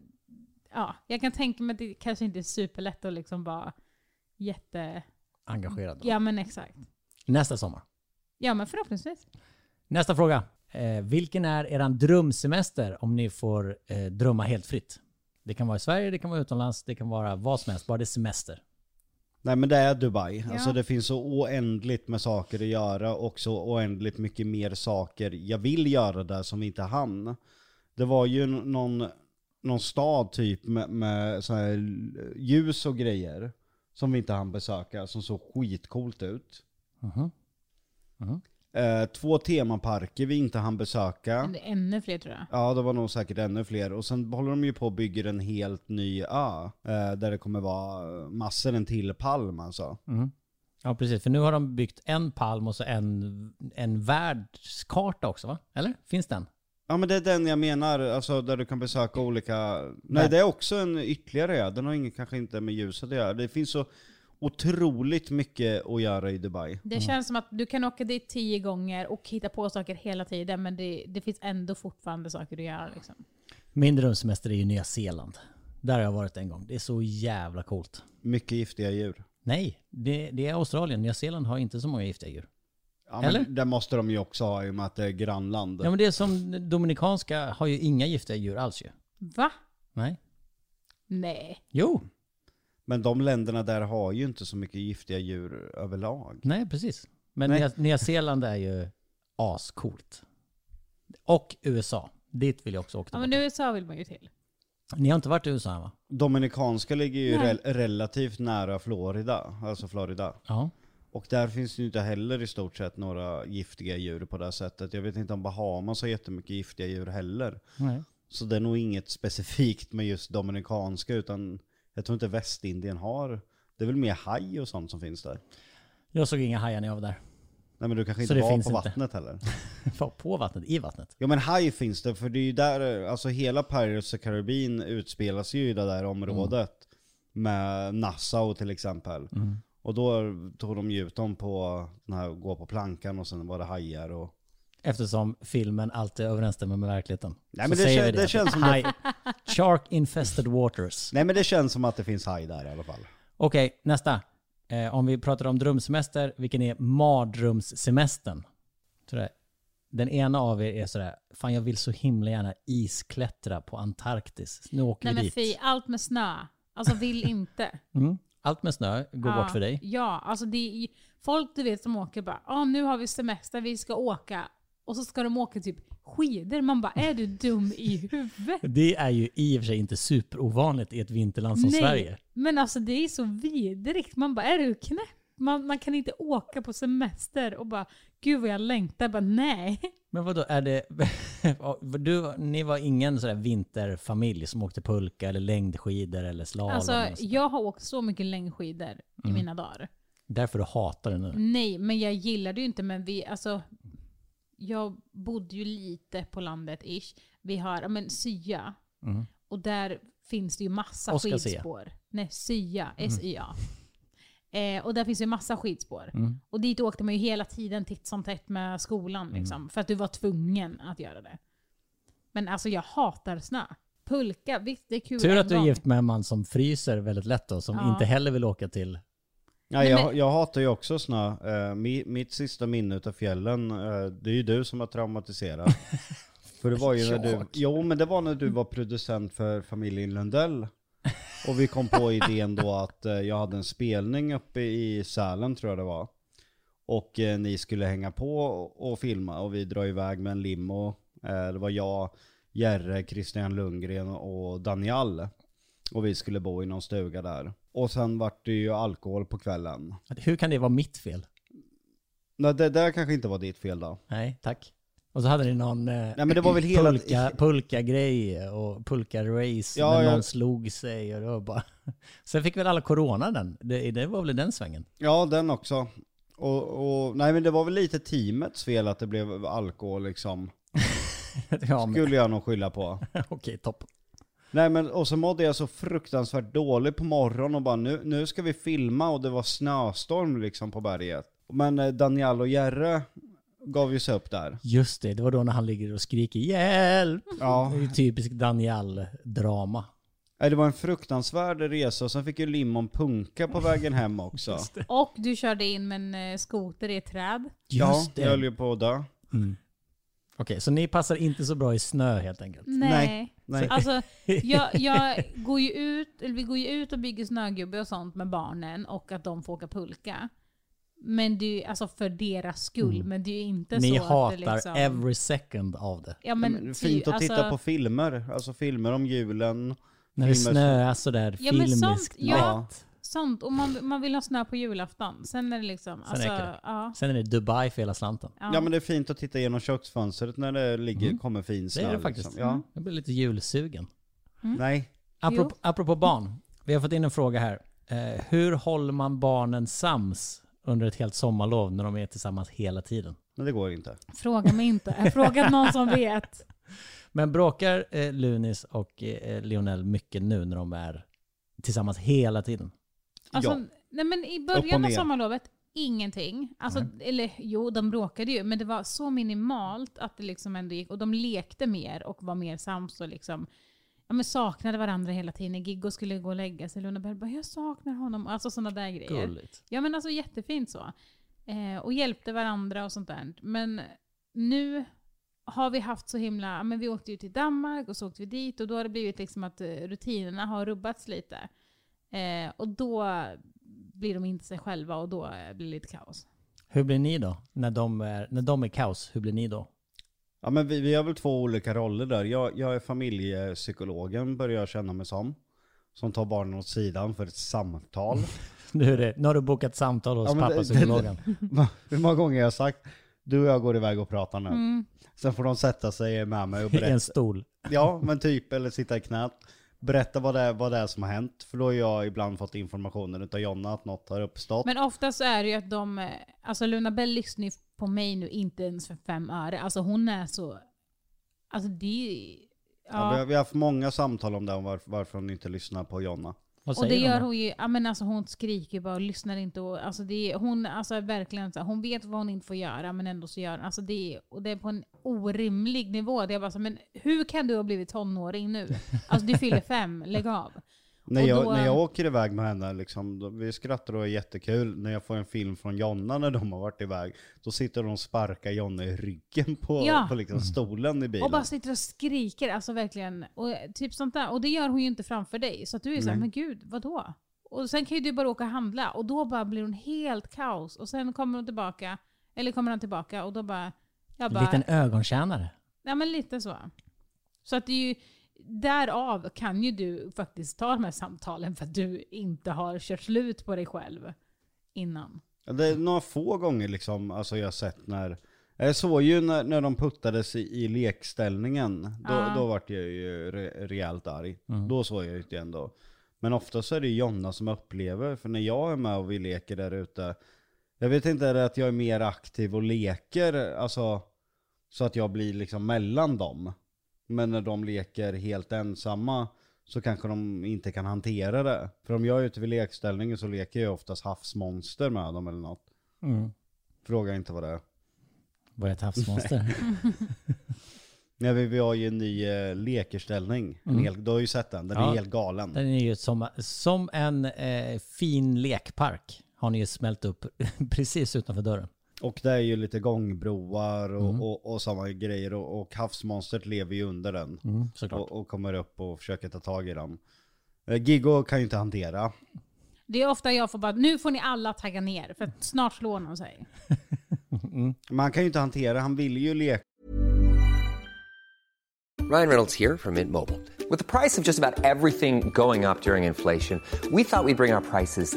Speaker 4: ja, jag kan tänka mig att det kanske inte är superlätt att liksom vara jätte,
Speaker 3: Engagerad.
Speaker 4: ja men exakt.
Speaker 3: Nästa sommar.
Speaker 4: Ja men förhoppningsvis.
Speaker 3: Nästa fråga. Eh, vilken är er drömsemester om ni får eh, drömma helt fritt? Det kan vara i Sverige, det kan vara utomlands, det kan vara vad som helst. Bara det är semester.
Speaker 2: Nej men det är Dubai.
Speaker 4: Ja.
Speaker 2: Alltså det finns så oändligt med saker att göra och så oändligt mycket mer saker jag vill göra där som vi inte hann. Det var ju n- någon, någon stad typ med, med så här ljus och grejer som vi inte hann besöka som såg skitcoolt ut.
Speaker 3: Mhm. Mhm.
Speaker 2: Eh, två temaparker vi inte hann besöka.
Speaker 4: Men det är ännu fler tror jag.
Speaker 2: Ja, det var nog säkert ännu fler. Och sen håller de ju på och bygger en helt ny ö. Eh, där det kommer vara massor, en till palm alltså.
Speaker 3: Mm. Ja, precis. För nu har de byggt en palm och så en, en världskarta också, va? Eller? Finns den?
Speaker 2: Ja men det är den jag menar, alltså där du kan besöka olika... Nej, det är också en ytterligare ö, den har ingen, kanske inte med ljuset att göra. Det finns så otroligt mycket att göra i Dubai.
Speaker 4: Det känns som att du kan åka dit tio gånger och hitta på saker hela tiden, men det, det finns ändå fortfarande saker att göra. Liksom.
Speaker 3: Min drömsemester är ju Nya Zeeland. Där har jag varit en gång. Det är så jävla coolt.
Speaker 2: Mycket giftiga djur.
Speaker 3: Nej, det, det är Australien. Nya Zeeland har inte så många giftiga djur.
Speaker 2: Ja, men
Speaker 3: Eller?
Speaker 2: Det måste de ju också ha i och med att det är grannland.
Speaker 3: Ja, men det är som Dominikanska har ju inga giftiga djur alls ju.
Speaker 4: Va?
Speaker 3: Nej.
Speaker 4: Nej.
Speaker 3: Jo,
Speaker 2: Men de länderna där har ju inte så mycket giftiga djur överlag.
Speaker 3: nej precis. Men
Speaker 2: Nej.
Speaker 3: Nya, Nya Zeeland är ju ascoolt. Och USA. Dit vill jag också åka.
Speaker 4: Ja, men
Speaker 3: tillbaka.
Speaker 4: USA vill man ju till.
Speaker 3: Ni har inte varit i USA än va?
Speaker 2: Dominikanska ligger ju
Speaker 4: Nej.
Speaker 2: rel- relativt nära Florida, alltså Florida.
Speaker 3: Ja.
Speaker 2: Och där finns det ju inte heller i stort sett några giftiga djur på det här sättet. Jag vet inte om Bahamas har jättemycket giftiga djur heller.
Speaker 3: Nej.
Speaker 2: Så det är nog inget specifikt med just Dominikanska utan jag tror inte Västindien har. Det är väl mer haj och sånt som finns där.
Speaker 3: Jag såg inga hajar när jag var där.
Speaker 2: Nej men du kanske inte
Speaker 3: Så det
Speaker 2: var på
Speaker 3: finns inte.
Speaker 2: vattnet heller.
Speaker 3: Var på vattnet, i vattnet.
Speaker 2: Ja men haj finns det, för det är ju där, alltså hela Pirates of Caribbean utspelas ju i det där området.
Speaker 3: Mm.
Speaker 2: Med Nassau till exempel. Och då tog de ju ut dem på, den här, gå på plankan och sen var det hajar och...
Speaker 3: Eftersom filmen alltid överensstämmer med verkligheten.
Speaker 2: Nej,
Speaker 3: Så
Speaker 2: men det
Speaker 3: säger
Speaker 2: kän-
Speaker 3: vi
Speaker 2: det känns som det-
Speaker 3: Haj- Shark infested waters.
Speaker 2: Nej men det känns som att det finns haj där i alla fall.
Speaker 3: Okej, nästa. Eh, om vi pratar om drömsemester, vilken är mardrömssemestern? Sådär. Den ena av er är sådär, fan jag vill så himla gärna isklättra på Antarktis. Nu åker
Speaker 4: Nej
Speaker 3: vi
Speaker 4: men
Speaker 3: dit.
Speaker 4: fy, allt med snö. Alltså vill inte.
Speaker 3: Mm. Allt med snö går
Speaker 4: ja,
Speaker 3: bort för dig.
Speaker 4: Ja, alltså det är ju- folk du vet som åker bara ah, nu har vi semester, vi ska åka. Och så ska de åka typ skidor. Man bara är du dum i huvudet?
Speaker 3: Det är ju i och för sig inte superovanligt i ett vinterland som Sverige.
Speaker 4: men alltså det är så vidrigt. Man bara är du knäpp? Man, man kan inte åka på semester och bara gud vad jag längtar. Jag bara nej.
Speaker 3: Men vadå, är det... du, ni var ingen sådär vinterfamilj som åkte pulka eller längdskidor eller slalom?
Speaker 4: Alltså
Speaker 3: eller så? Mm.
Speaker 4: jag har åkt så mycket längdskidor i mina dagar.
Speaker 3: Därför du hatar det nu?
Speaker 4: Nej, men jag gillade ju inte, men vi, alltså, jag bodde ju lite på landet ish. Vi har, ja, men Sya. Och där finns det ju massa
Speaker 3: Mm. Oskar Sia. Mm.
Speaker 4: skidspår. Nej, Sya. S-Y-A. Eh, och där finns ju massa skidspår.
Speaker 3: Mm.
Speaker 4: Och dit åkte man ju hela tiden titt som tätt med skolan. Liksom, För att du var tvungen att göra det. Men alltså jag hatar snö. Pulka, visst det är kul
Speaker 3: Tur
Speaker 4: en
Speaker 3: att du är
Speaker 4: gång.
Speaker 3: gift med en man som fryser väldigt lätt då, som
Speaker 4: Ja.
Speaker 3: inte heller vill åka till...
Speaker 2: Ja,
Speaker 4: Nej,
Speaker 2: jag,
Speaker 4: men-
Speaker 2: jag hatar ju också snö. Eh, mi, mitt sista minne utav fjällen, eh, det är ju du som har traumatiserat. för det var ju när du,
Speaker 3: Jag?
Speaker 2: jo men det var när du var producent för familjen Lundell. Och vi kom på idén då att eh, jag hade en spelning uppe i Sälen tror jag det var. Och eh, ni skulle hänga på och, och filma och vi drar iväg med en limo. Eh, det var jag, Jerre, Christian Lundgren och Daniel. Och vi skulle bo i någon stuga där. Och sen vart det ju alkohol på kvällen.
Speaker 3: Hur kan det vara mitt fel?
Speaker 2: Nej det där kanske inte var ditt fel då.
Speaker 3: Nej, tack. Och så hade ni någon Nej,
Speaker 2: men det var väl hela-
Speaker 3: pulka, pulka-grej och pulka-race
Speaker 2: Ja,
Speaker 3: när
Speaker 2: ja.
Speaker 3: någon slog sig och det var bara... Sen fick väl alla corona den? Det, det var väl den svängen?
Speaker 2: Ja den också. Och, och nej men det var väl lite teamets fel att det blev alkohol liksom.
Speaker 3: ja, men,
Speaker 2: Skulle jag nog skylla på.
Speaker 3: okej, toppen.
Speaker 2: Nej men och så mådde jag så fruktansvärt dåligt på morgonen och bara nu, nu ska vi filma och det var snöstorm liksom på berget. Men eh, Daniel och Jerre gav ju sig upp där.
Speaker 3: Just det, det var då när han ligger och skriker hjälp.
Speaker 4: Mm.
Speaker 2: Ja.
Speaker 3: Det är ju typiskt Daniel-drama.
Speaker 2: Nej, Det var en fruktansvärd resa och sen fick ju Limon punka på vägen hem också.
Speaker 4: Och du körde in med en eh, skoter i ett träd.
Speaker 2: Ja,
Speaker 3: Just
Speaker 2: jag
Speaker 3: det.
Speaker 2: höll
Speaker 3: Okej,
Speaker 2: ju på att dö.
Speaker 3: så ni passar inte så bra i snö helt enkelt?
Speaker 4: Nej.
Speaker 2: Nej, nej.
Speaker 4: Alltså, jag, jag går ju ut, eller vi går ju ut och bygger snögubbe och sånt med barnen och att de får åka pulka. Men det är ju alltså för deras skull, men det är ju inte
Speaker 3: Ni
Speaker 4: så
Speaker 3: hatar
Speaker 4: att det liksom...
Speaker 3: every second av det.
Speaker 4: Ja, men,
Speaker 2: Men
Speaker 4: ty-
Speaker 2: Fint att titta
Speaker 4: alltså-
Speaker 2: på filmer, alltså filmer om julen.
Speaker 3: När det
Speaker 2: filmer-
Speaker 3: snöar sådär
Speaker 4: Ja, men sånt-
Speaker 3: filmiskt.
Speaker 4: ja.
Speaker 3: natt.
Speaker 4: Sånt, och man, man vill ha snö på julafton. Sen är det liksom...
Speaker 3: Sen
Speaker 4: alltså,
Speaker 3: räcker det.
Speaker 4: ja,
Speaker 3: Sen är det Dubai för hela slanten.
Speaker 4: ja.
Speaker 2: Ja men det är fint att titta genom köksfönstret när det ligger, kommer fin snö.
Speaker 3: Mm. det faktiskt. Mm.
Speaker 2: Liksom. Ja.
Speaker 3: Jag blir lite julsugen.
Speaker 2: Nej.
Speaker 3: Apropå, apropå barn. Vi har fått in en fråga här. Eh, hur håller man barnen sams under ett helt sommarlov när de är tillsammans hela tiden.
Speaker 2: Men det går inte.
Speaker 4: Fråga mig inte. Fråga någon som vet.
Speaker 3: Men bråkar eh, Lunis och eh, Lionel mycket nu när de är tillsammans hela tiden?
Speaker 4: Alltså,
Speaker 2: Ja.
Speaker 4: nej, men I
Speaker 2: Upp och
Speaker 4: början av
Speaker 2: ner.
Speaker 4: sommarlovet, ingenting. Alltså, eller jo, de bråkade ju, men det var så minimalt att det liksom ändå gick. Och de lekte mer och var mer sams och liksom, ja, men saknade varandra hela tiden. Giggo skulle gå och lägga sig, Luna bara “jag saknar honom”. Alltså sådana där grejer.
Speaker 3: Gulligt.
Speaker 4: Ja men alltså jättefint så. Eh, och hjälpte varandra och sånt där. Men nu har vi haft så himla, ja, men vi åkte ju till Danmark och så åkte vi dit och då har det blivit liksom att eh, rutinerna har rubbats lite. Eh, och då blir de inte sig själva och då eh, blir det lite kaos.
Speaker 3: Hur blir ni då? När de är, när de är kaos, hur blir ni då?
Speaker 2: Ja men vi, vi har väl två olika roller där. Jag, jag är familjepsykologen börjar jag känna mig som. Som tar barnen åt sidan för ett samtal.
Speaker 3: Nu, är det, nu har du bokat samtal hos
Speaker 2: Ja, men det-
Speaker 3: pappapsykologen.
Speaker 2: Va- Hur många gånger har jag sagt du och jag går iväg och pratar nu. Sen får de sätta sig med mig och
Speaker 3: I en
Speaker 2: berätta.
Speaker 3: stol.
Speaker 2: Ja men typ, eller sitta i knät. Berätta vad det, är, vad det är som har hänt. För då har jag ibland fått informationen utav Jonna att något har uppstått.
Speaker 4: Men ofta så är det ju att de, eh, alltså Luna Bell lyssnar ju på mig nu inte ens för fem öre. Alltså hon är så, alltså det är-
Speaker 2: Ja, vi, har, vi har haft många samtal om det, om varför, varför hon inte lyssnar på Jonna.
Speaker 3: Vad
Speaker 4: Och
Speaker 3: säger
Speaker 4: det
Speaker 3: de
Speaker 4: gör
Speaker 3: då?
Speaker 4: hon ju, ja men alltså hon skriker bara och lyssnar inte. Och, alltså det, är- hon alltså är verkligen så här, hon vet vad hon inte får göra men ändå så gör hon. Alltså det, är- och det är på en orimlig nivå. Det är bara så, här, men hur kan du ha blivit tonåring nu? Alltså du fyller fem, lägg av.
Speaker 2: När
Speaker 4: Och
Speaker 2: jag,
Speaker 4: då-
Speaker 2: när jag åker iväg med henne, liksom, då, vi skrattar och är jättekul. När jag får en film från Jonna när de har varit iväg, då sitter de och sparkar Jonna i ryggen på,
Speaker 4: Ja.
Speaker 2: på liksom stolen i bilen.
Speaker 4: Och bara sitter och skriker, alltså verkligen. Och, eh, typ sånt där. och det gör hon ju inte framför dig. Så att du är såhär, men gud, vadå? Och sen kan ju du bara åka och handla och då bara blir hon helt kaos. Och sen kommer hon tillbaka, eller kommer han tillbaka och då bara... Jag bara
Speaker 3: En liten ögontjänare.
Speaker 4: Ja men lite så. Så att det är ju, därav kan ju du faktiskt ta de här samtalen för att du inte har kört slut på dig själv innan.
Speaker 2: Det är några få gånger liksom, alltså jag har sett när, jag såg ju när, när de puttades i, i lekställningen, då, då vart jag ju re, rejält arg. Då såg jag ut igen då. Men ofta så är det ju Jonna som upplever, för när jag är med och vi leker där ute, jag vet inte, är det att jag är mer aktiv och leker, alltså så att jag blir liksom mellan dem. Men när de leker helt ensamma så kanske de inte kan hantera det. För om jag är ute vid lekställningen så leker jag oftast havsmonster med dem eller något.
Speaker 3: Mm.
Speaker 2: Fråga inte vad det är.
Speaker 3: Var det ett havsmonster?
Speaker 4: Mm.
Speaker 2: Nej, vi, vi har ju en ny eh, lekerställning. En hel, du har ju sett den, den
Speaker 3: Mm. Ja.
Speaker 2: är helt galen.
Speaker 3: Den är ju som, som en eh, fin lekpark. Har ni ju smält upp precis utanför dörren.
Speaker 2: Och det är ju lite gångbroar och,
Speaker 3: Mm.
Speaker 2: och, och sådana grejer. Och, och havsmonstret lever ju under den.
Speaker 3: Mm, såklart.
Speaker 2: och, och kommer upp och försöker ta tag i den. Eh, Giggo kan ju inte hantera.
Speaker 4: Det är ofta jag får bara, nu får ni alla tagga ner för att snart slår någon sig.
Speaker 2: Men han kan ju inte hantera, han vill ju leka.
Speaker 5: Ryan Reynolds here from Mint Mobile. With the price of just about everything going up during inflation, we thought we'd bring our prices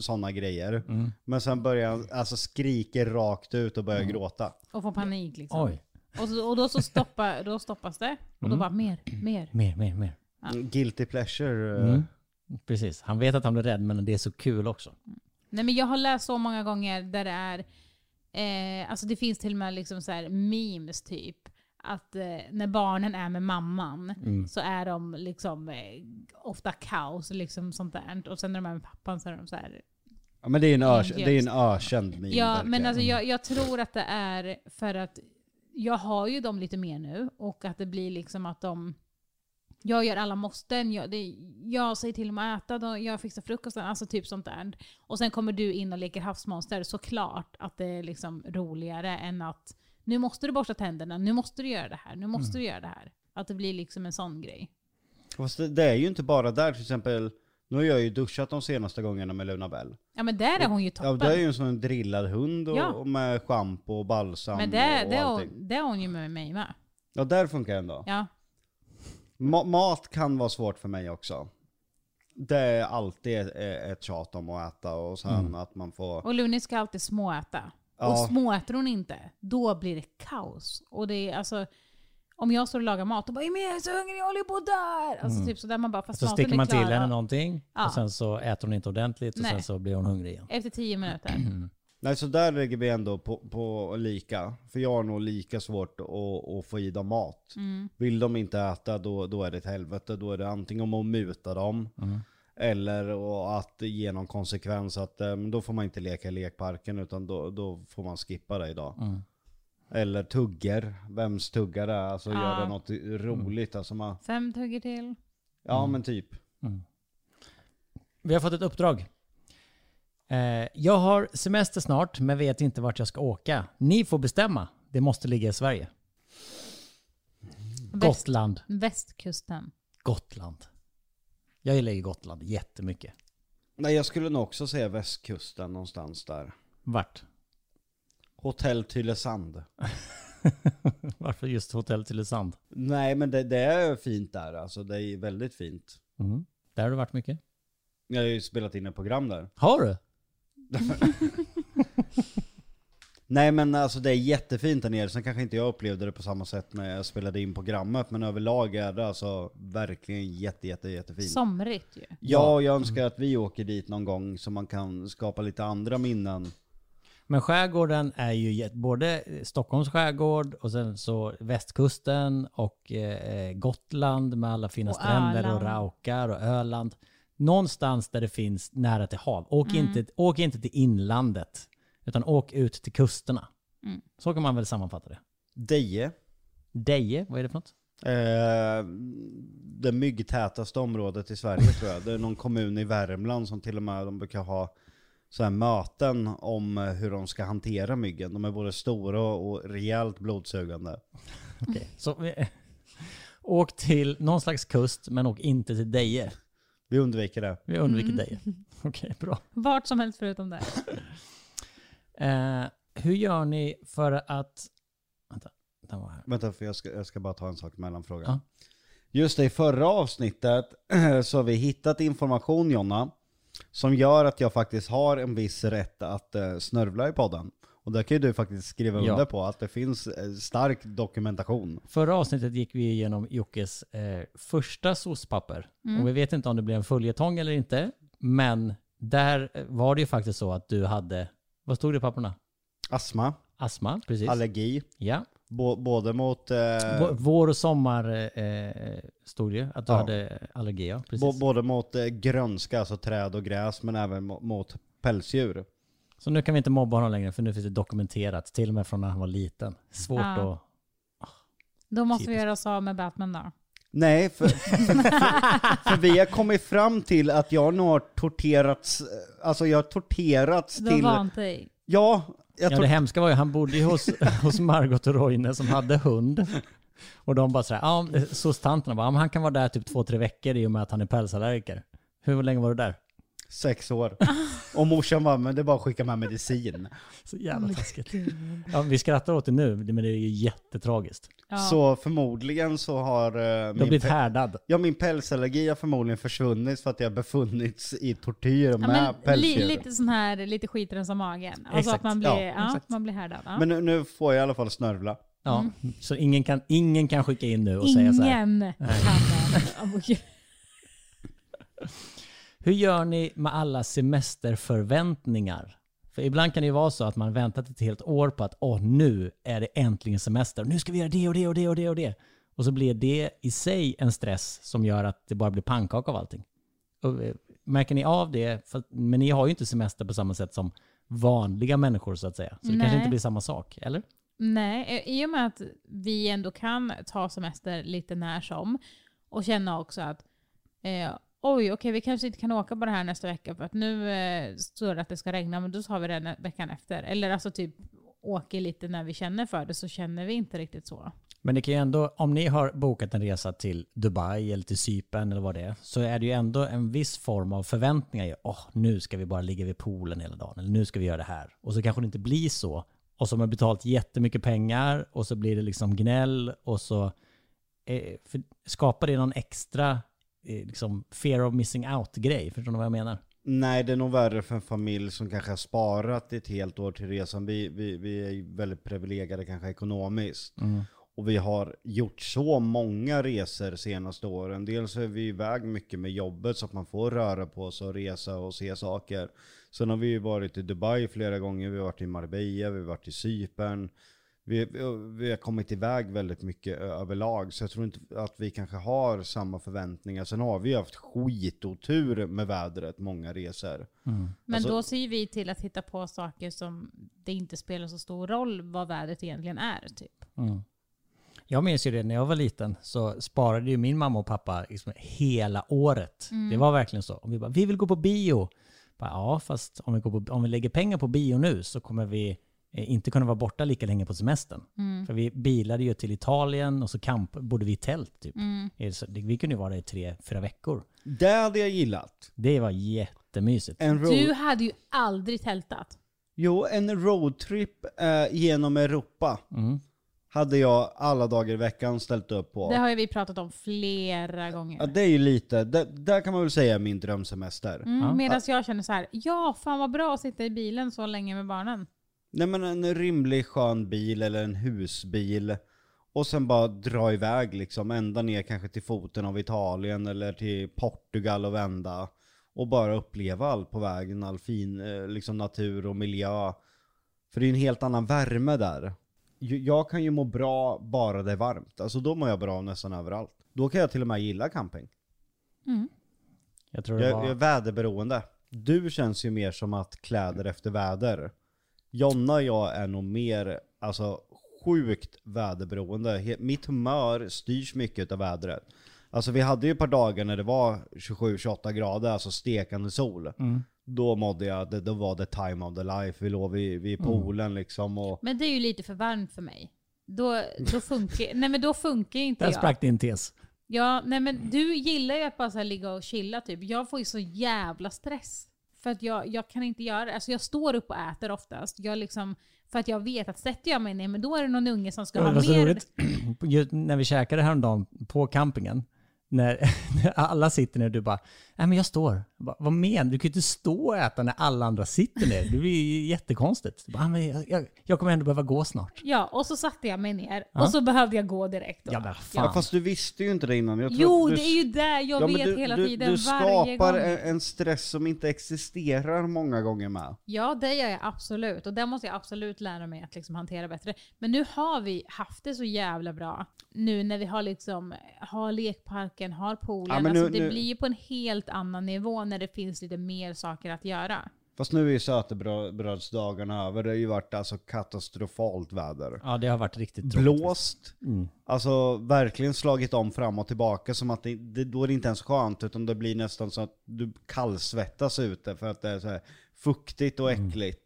Speaker 2: sådana grejer. Men sen börjar han, alltså skriker rakt ut och börjar gråta.
Speaker 4: Och får panik liksom.
Speaker 3: Oj,
Speaker 4: Och, så, och då, så stoppa, då stoppas det. Och då bara mer, mer.
Speaker 3: mer, mer, mer.
Speaker 2: Guilty pleasure. eh,
Speaker 3: Precis. Han vet att han blir rädd men det är så kul också.
Speaker 4: Nej men jag har läst så många gånger där det är, eh, alltså det finns till och med liksom så här memes typ. Att eh, när barnen är med mamman så är de liksom eh, ofta kaos liksom sånt där. Och sen när de är med pappan så är de så här.
Speaker 2: Ja, men det är en, örs-
Speaker 4: Yes.
Speaker 2: det är en ökänd meme.
Speaker 4: Ja
Speaker 2: verkligen.
Speaker 4: men alltså jag, jag tror att det är för att jag har ju dem lite mer nu och att det blir liksom att de jag gör alla måsten, jag, det, jag säger till dem att äta, då, jag fixar frukosten, alltså typ sånt där. Och sen kommer du in och leker havsmonster, såklart att det är liksom roligare än att nu måste du borsta tänderna, nu måste du göra det här,
Speaker 2: Mm.
Speaker 4: nu måste du göra det här. Att det blir liksom en sån grej.
Speaker 2: Fast det, det är ju inte bara där till exempel Nu har jag ju duschat de senaste gångerna med Luna Bell.
Speaker 4: Ja men där är hon ju
Speaker 2: Ja,
Speaker 4: toppen.
Speaker 2: det är ju en sån drillad hund och,
Speaker 4: Ja.
Speaker 2: och med schampo och balsam
Speaker 4: men det,
Speaker 2: och
Speaker 4: det, är
Speaker 2: allting.
Speaker 4: hon, det är hon ju med mig med.
Speaker 2: Ja, där funkar det ändå.
Speaker 4: Ja.
Speaker 2: Ma- mat kan vara svårt för mig också. Det är alltid ett- ett tjat om att äta och sen att man får...
Speaker 4: Och Luni ska alltid småäta.
Speaker 2: Ja.
Speaker 4: Och småäter hon inte, då blir det kaos. Och det är alltså, om jag står och lagar mat och bara “men jag är så hungrig, jag håller på att dö!” Alltså typ sådär, man bara “fast
Speaker 3: Mm. Så
Speaker 4: maten
Speaker 3: sticker man
Speaker 4: är klar.
Speaker 3: till henne någonting
Speaker 4: Ja.
Speaker 3: och sen så äter hon inte ordentligt och
Speaker 4: Nej.
Speaker 3: sen så blir hon hungrig igen.
Speaker 4: Efter tio minuter.
Speaker 2: Nej, så där ligger vi ändå på, på lika. För jag har nog lika svårt att, att få i dem mat. Vill de inte äta, då, då är det ett helvete. Då är det antingen om att muta dem, eller och att ge någon konsekvens att eh, men då får man inte leka i lekparken, utan då, då får man skippa det idag. Eller tuggar, vems tuggar det är, alltså
Speaker 4: Ja.
Speaker 2: gör det något roligt. Alltså man,
Speaker 4: Fem tuggar till.
Speaker 2: ja men typ.
Speaker 3: Vi har fått ett uppdrag. Eh, jag har semester snart men vet inte vart jag ska åka. Ni får bestämma. Det måste ligga i Sverige.
Speaker 4: Väst,
Speaker 3: Gotland.
Speaker 4: västkusten.
Speaker 3: Gotland. Jag gillar ju Gotland jättemycket.
Speaker 2: Nej jag skulle nog också säga västkusten någonstans där.
Speaker 3: Vart?
Speaker 2: Hotell Tylösand.
Speaker 3: Varför just Hotell Tylösand?
Speaker 2: Nej men det, det är fint där alltså, det är väldigt fint.
Speaker 3: Mm. Där har du varit mycket.
Speaker 2: Jag har ju spelat in ett program där.
Speaker 3: Har du?
Speaker 2: Nej men alltså det är jättefint där nere, sen kanske inte jag upplevde det på samma sätt när jag spelade in programmet, men överlag är det alltså verkligen jätte, jätte, jättefint.
Speaker 4: Somrigt ju.
Speaker 2: Ja, och jag önskar att vi åker dit någon gång så man kan skapa lite andra minnen.
Speaker 3: Men skärgården är ju jätt- både Stockholms skärgård och sen så västkusten och eh, Gotland med alla fina
Speaker 4: Och
Speaker 3: stränder och
Speaker 4: Öland.
Speaker 3: raukar och Öland. Någonstans där det finns nära till hav. Åk,
Speaker 4: Mm.
Speaker 3: inte, åk inte till inlandet utan åk ut till kusterna.
Speaker 4: Mm.
Speaker 3: Så kan man väl sammanfatta det.
Speaker 2: Deje,
Speaker 3: Deje, vad är det för något?
Speaker 2: eh, det myggtätaste området i Sverige tror jag. Det är någon kommun i Värmland som till och med de brukar ha så här möten om hur de ska hantera myggen. De är både stora och rejält blodsugande.
Speaker 3: Okej, Så, eh, åk till någon slags kust men åk inte till Deje.
Speaker 2: Vi undviker det.
Speaker 3: Vi undviker Deje. Okej, bra.
Speaker 4: Vart som helst förutom där.
Speaker 3: Eh, hur gör ni för att... Vänta, den var här.
Speaker 2: Vänta, för jag ska, jag ska bara ta en sak mellanfråga.
Speaker 3: Ja.
Speaker 2: Just det, i förra avsnittet så har vi hittat information Jonna, som gör att jag faktiskt har en viss rätt att eh, snörvla i podden. Och där kan ju du faktiskt skriva
Speaker 3: Ja.
Speaker 2: under på att det finns eh, stark dokumentation.
Speaker 3: Förra avsnittet gick vi igenom Jockes eh, första soc-papper. Och vi vet inte om det blev en följetong eller inte. Men där var det ju faktiskt så att du hade, vad stod det i papperna?
Speaker 2: Astma,
Speaker 3: Astma, precis.
Speaker 2: allergi,
Speaker 3: ja.
Speaker 2: bo- både mot... eh,
Speaker 3: Vå- Vår och sommar eh, stod det ju, att du
Speaker 2: Ja.
Speaker 3: hade allergi. Ja, precis.
Speaker 2: bo- både mot eh, grönska, alltså träd och gräs, men även mo- mot pälsdjur.
Speaker 3: Så nu kan vi inte mobba honom längre för nu finns det dokumenterat, till och med från när han var liten. Svårt
Speaker 4: Ja.
Speaker 3: att...
Speaker 4: Då måste vi
Speaker 3: Typiskt.
Speaker 4: göra oss av med Batman då.
Speaker 2: Nej, för, för, för vi har kommit fram till att jag nog har torterats, alltså jag har torterats
Speaker 4: Du har
Speaker 2: till...
Speaker 4: vant dig.
Speaker 2: Ja, jag
Speaker 3: Ja,
Speaker 2: tor-
Speaker 3: det hemska var ju, han bodde ju hos, hos Margot och Roine som hade hund. Och de bara såhär, ja, men- soc-tanterna bara, ja, men han kan vara där typ två, tre veckor i och med att han är pälsallergiker. Hur länge var du där?
Speaker 2: sex år. Och morsan bara, men det är bara att skicka med medicin.
Speaker 3: Så jävla taskigt. Ja, vi skrattar åt det nu, men det är ju jättetragiskt.
Speaker 4: Ja.
Speaker 2: Så förmodligen så har eh,
Speaker 3: Du har
Speaker 2: min,
Speaker 3: blivit
Speaker 2: pe-
Speaker 3: härdad.
Speaker 2: ja, min pälsallergi har förmodligen försvunnit för att jag befunnits i tortyr
Speaker 4: Ja,
Speaker 2: med
Speaker 4: men,
Speaker 2: pälsdjur.
Speaker 4: li, lite sån här, lite skitrensa magen. Alltså
Speaker 3: Exakt.
Speaker 4: att man blir,
Speaker 2: Ja,
Speaker 4: ja,
Speaker 3: exakt.
Speaker 4: man blir härdad. Ja.
Speaker 2: Men nu, nu får jag i alla fall snörvla.
Speaker 3: Ja, så ingen kan, ingen kan skicka in nu och säga så här.
Speaker 4: Mm. Ingen kan det. Oh, gud.
Speaker 3: Hur gör ni med alla semesterförväntningar? För ibland kan det ju vara så att man väntat ett helt år på att åh, nu är det äntligen semester. Nu ska vi göra det och det och det och det och det. Och så blir det i sig en stress som gör att det bara blir pannkaka av allting. Och, eh, märker ni av det? För, men ni har ju inte semester på samma sätt som vanliga människor så att säga. Så det kanske
Speaker 4: Nej.
Speaker 3: inte blir samma sak, eller?
Speaker 4: Nej, eh, i och med att vi ändå kan ta semester lite när som och känna också att eh, oj, okej, vi kanske inte kan åka på det här nästa vecka för att nu eh, står det att det ska regna, men då tar vi det nä- veckan efter. Eller alltså typ åker lite när vi känner för det så känner vi inte riktigt så.
Speaker 3: Men det kan ju ändå, om ni har bokat en resa till Dubai eller till Cypern eller vad det är, så är det ju ändå en viss form av förväntningar. i, Åh, nu ska vi bara ligga vid poolen hela dagen, eller nu ska vi göra det här. Och så kanske det inte blir så. Och så har man betalat jättemycket pengar och så blir det liksom gnäll och så eh, för, skapar det någon extra eh, liksom fear of missing out-grej. Förstår ni vad jag menar?
Speaker 2: Nej, det är nog värre för en familj som kanske har sparat ett helt år till resan. Vi, vi, vi är ju väldigt privilegierade kanske ekonomiskt. Och vi har gjort så många resor senaste åren. Dels är vi iväg mycket med jobbet så att man får röra på sig och resa och se saker. Sen har vi ju varit i Dubai flera gånger, vi har varit i Marbella, vi har varit i Cypern. Vi, vi- vi har kommit iväg väldigt mycket ö- överlag, så jag tror inte att vi kanske har samma förväntningar. Sen har vi ju haft skitotur med vädret många resor.
Speaker 4: Men
Speaker 2: Alltså-
Speaker 4: då ser ju vi till att hitta på saker som det inte spelar så stor roll vad vädret egentligen är. Typ.
Speaker 3: Jag minns ju det när jag var liten så sparade ju min mamma och pappa liksom hela året. Det var verkligen så. Och vi bara, vi vill gå på bio. Bara, ja, fast om vi, går på, om vi lägger pengar på bio nu så kommer vi eh, inte kunna vara borta lika länge på semestern. För vi bilade ju till Italien och så kamp, bodde vi i tält typ. Eh, så det- Vi kunde ju vara där i tre, fyra veckor.
Speaker 2: Det hade jag gillat.
Speaker 3: Det var jättemysigt.
Speaker 2: En road...
Speaker 4: Du hade ju aldrig tältat.
Speaker 2: Jo, en roadtrip eh, genom Europa hade jag alla dagar i veckan ställt upp på.
Speaker 4: Det har ju vi pratat om flera gånger.
Speaker 2: Ja, det är ju lite, det, där kan man väl säga min drömsemester.
Speaker 4: Mm, Medan jag känner så här, ja fan vad bra att sitta i bilen så länge med barnen.
Speaker 2: Nej men en rimlig skön bil eller en husbil. Och sen bara dra iväg liksom, ända ner kanske till foten av Italien eller till Portugal och vända. Och bara uppleva allt på vägen, all fin eh, liksom, natur och miljö. För det är ju en helt annan värme där. Ju- Jag kan ju må bra bara det är varmt. Alltså då mår jag bra nästan överallt. Då kan jag till och med gilla camping.
Speaker 3: Jag tror det
Speaker 2: Jag, jag är
Speaker 3: var...
Speaker 2: väderberoende. Du känns ju mer som att kläder efter väder. Jonna och jag är nog mer alltså, sjukt väderberoende. He- Mitt humör styrs mycket av vädret. Alltså vi hade ju ett par dagar när det var 27-28 grader, alltså stekande sol.
Speaker 3: Mm.
Speaker 2: Då mådde jag, det, då var det time of the life. Vi låg vid, vid
Speaker 3: Mm.
Speaker 2: poolen liksom och...
Speaker 4: Men det är ju lite för varmt för mig. Då, då, funkar, nej, men då funkar inte
Speaker 3: Där
Speaker 4: jag.
Speaker 3: sprack din tes.
Speaker 4: Ja, nej, men du gillar ju att bara så här ligga och chilla typ. Jag får ju så jävla stress. För att jag, jag kan inte göra det. Alltså jag står upp och äter oftast. Jag liksom, för att jag vet att sätter jag mig ner, men då är det någon unge som ska
Speaker 3: Ja,
Speaker 4: ha
Speaker 3: det var så
Speaker 4: mer.
Speaker 3: roligt. Just när vi käkade häromdagen på campingen, när, när alla sitter ner och du bara Nej men jag står. Jag bara, Vad menar du? Du kan ju inte stå och äta när alla andra sitter ner. Det blir ju jättekonstigt. Jag, bara, "Ah, men jag, jag, jag kommer ändå behöva gå snart.
Speaker 4: Ja, och så satte jag mig ner och så behövde jag gå direkt. Då.
Speaker 3: Ja men
Speaker 2: Ja,
Speaker 3: fan.
Speaker 2: fast du visste ju inte det innan. Jag tror
Speaker 4: jo,
Speaker 2: att du,
Speaker 4: det är ju det jag
Speaker 2: Ja, men
Speaker 4: vet
Speaker 2: du,
Speaker 4: hela
Speaker 2: du,
Speaker 4: tiden.
Speaker 2: Du
Speaker 4: varje
Speaker 2: skapar
Speaker 4: gång.
Speaker 2: en, en stress som inte existerar många gånger med.
Speaker 4: Ja, det gör jag absolut. Och det måste jag absolut lära mig att liksom hantera bättre. Men nu har vi haft det så jävla bra. Nu när vi har, liksom, har lekparken, har poolen.
Speaker 2: Ja, men
Speaker 4: alltså,
Speaker 2: nu-
Speaker 4: det
Speaker 2: nu-
Speaker 4: blir ju på en helt annan nivå när det finns lite mer saker att göra.
Speaker 2: Fast nu är ju sötebrödsdagarna över. Det har ju varit alltså katastrofalt väder.
Speaker 3: Ja det har varit riktigt tråkigt. Mm.
Speaker 2: Blåst. Alltså verkligen slagit om fram och tillbaka som att det, det, då är det inte ens skönt utan det blir nästan så att du kallsvettas ute för att det är så här fuktigt och
Speaker 3: Mm.
Speaker 2: äckligt.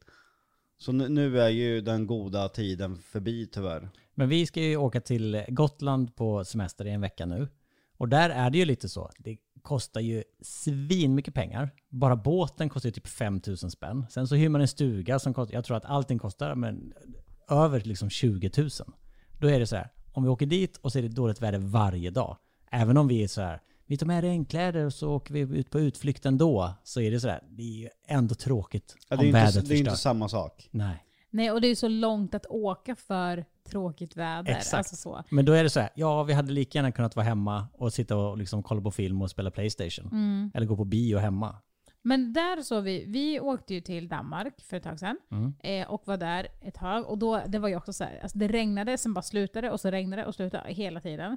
Speaker 2: Så nu, nu är ju den goda tiden förbi tyvärr.
Speaker 3: Men vi ska ju åka till Gotland på semester i en vecka nu. Och där är det ju lite så. Det kostar ju svin mycket pengar. Bara båten kostar ju typ 5 000 spänn. Sen så hyr man en stuga som kostar, jag tror att allting kostar men över liksom 20 000. Då är det så här, om vi åker dit och så är det dåligt väder varje dag. Även om vi är så här, vi tar med regnkläder och så åker vi ut på utflykt ändå. Så är det så här, det är ju ändå tråkigt
Speaker 2: Ja, det är
Speaker 3: om
Speaker 2: ju
Speaker 3: vädret
Speaker 2: inte, det är ju inte
Speaker 3: förstörs.
Speaker 2: samma sak.
Speaker 3: Nej.
Speaker 4: Nej, och det är ju så långt att åka för tråkigt väder.
Speaker 3: Exakt.
Speaker 4: Alltså så.
Speaker 3: Men då är det så här, ja vi hade lika gärna kunnat vara hemma och sitta och liksom kolla på film och spela Playstation.
Speaker 4: Mm.
Speaker 3: Eller gå på bio hemma.
Speaker 4: Men där så vi, vi åkte ju till Danmark för ett tag sedan
Speaker 2: Mm.
Speaker 4: eh, och var där ett tag. Och då, det var ju också så här, alltså det regnade, sen bara slutade och så regnade och slutade hela tiden.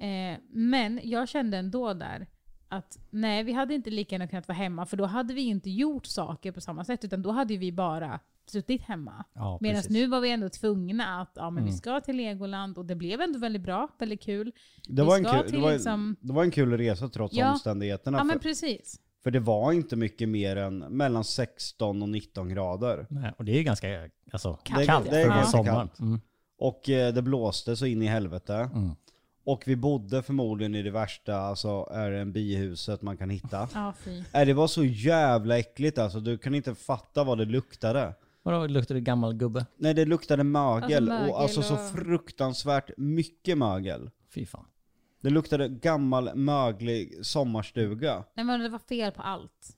Speaker 4: Eh, men jag kände ändå där att nej, vi hade inte lika gärna kunnat vara hemma för då hade vi inte gjort saker på samma sätt utan då hade ju vi bara suttit hemma.
Speaker 3: Ja,
Speaker 4: Medan
Speaker 3: precis.
Speaker 4: nu var vi ändå tvungna att ja,
Speaker 2: Mm.
Speaker 4: men vi ska till Legoland och det blev ändå väldigt bra, väldigt kul.
Speaker 2: Det
Speaker 4: vi
Speaker 2: var, en
Speaker 4: ska
Speaker 2: kul, det,
Speaker 4: till
Speaker 2: var, en-
Speaker 4: liksom-
Speaker 2: det var en kul resa trots
Speaker 4: Ja.
Speaker 2: omständigheterna.
Speaker 4: Ja
Speaker 2: för-
Speaker 4: men precis.
Speaker 2: För det var inte mycket mer än mellan 16 och 19 grader.
Speaker 3: Nej, och det är ju ganska alltså,
Speaker 2: Kallt.
Speaker 3: kallt
Speaker 2: Det är
Speaker 3: för att vara
Speaker 2: ganska
Speaker 3: sommar.
Speaker 2: kallt.
Speaker 3: Mm.
Speaker 2: Och eh, det blåste så in i helvete.
Speaker 3: Mm.
Speaker 2: Och vi bodde förmodligen i det värsta alltså, Airbnb-huset man kan hitta.
Speaker 4: Ja, fy.
Speaker 2: Nej, det var så jävla äckligt alltså. Du kan inte fatta vad det luktade.
Speaker 3: Vadå, luktar det gammal gubbe?
Speaker 2: Nej, det luktade mögel.
Speaker 4: Alltså, mögel
Speaker 2: och alltså så
Speaker 4: och-
Speaker 2: fruktansvärt mycket mögel.
Speaker 3: Fy fan.
Speaker 2: Det luktade gammal möglig sommarstuga.
Speaker 4: Nej men det var fel på allt.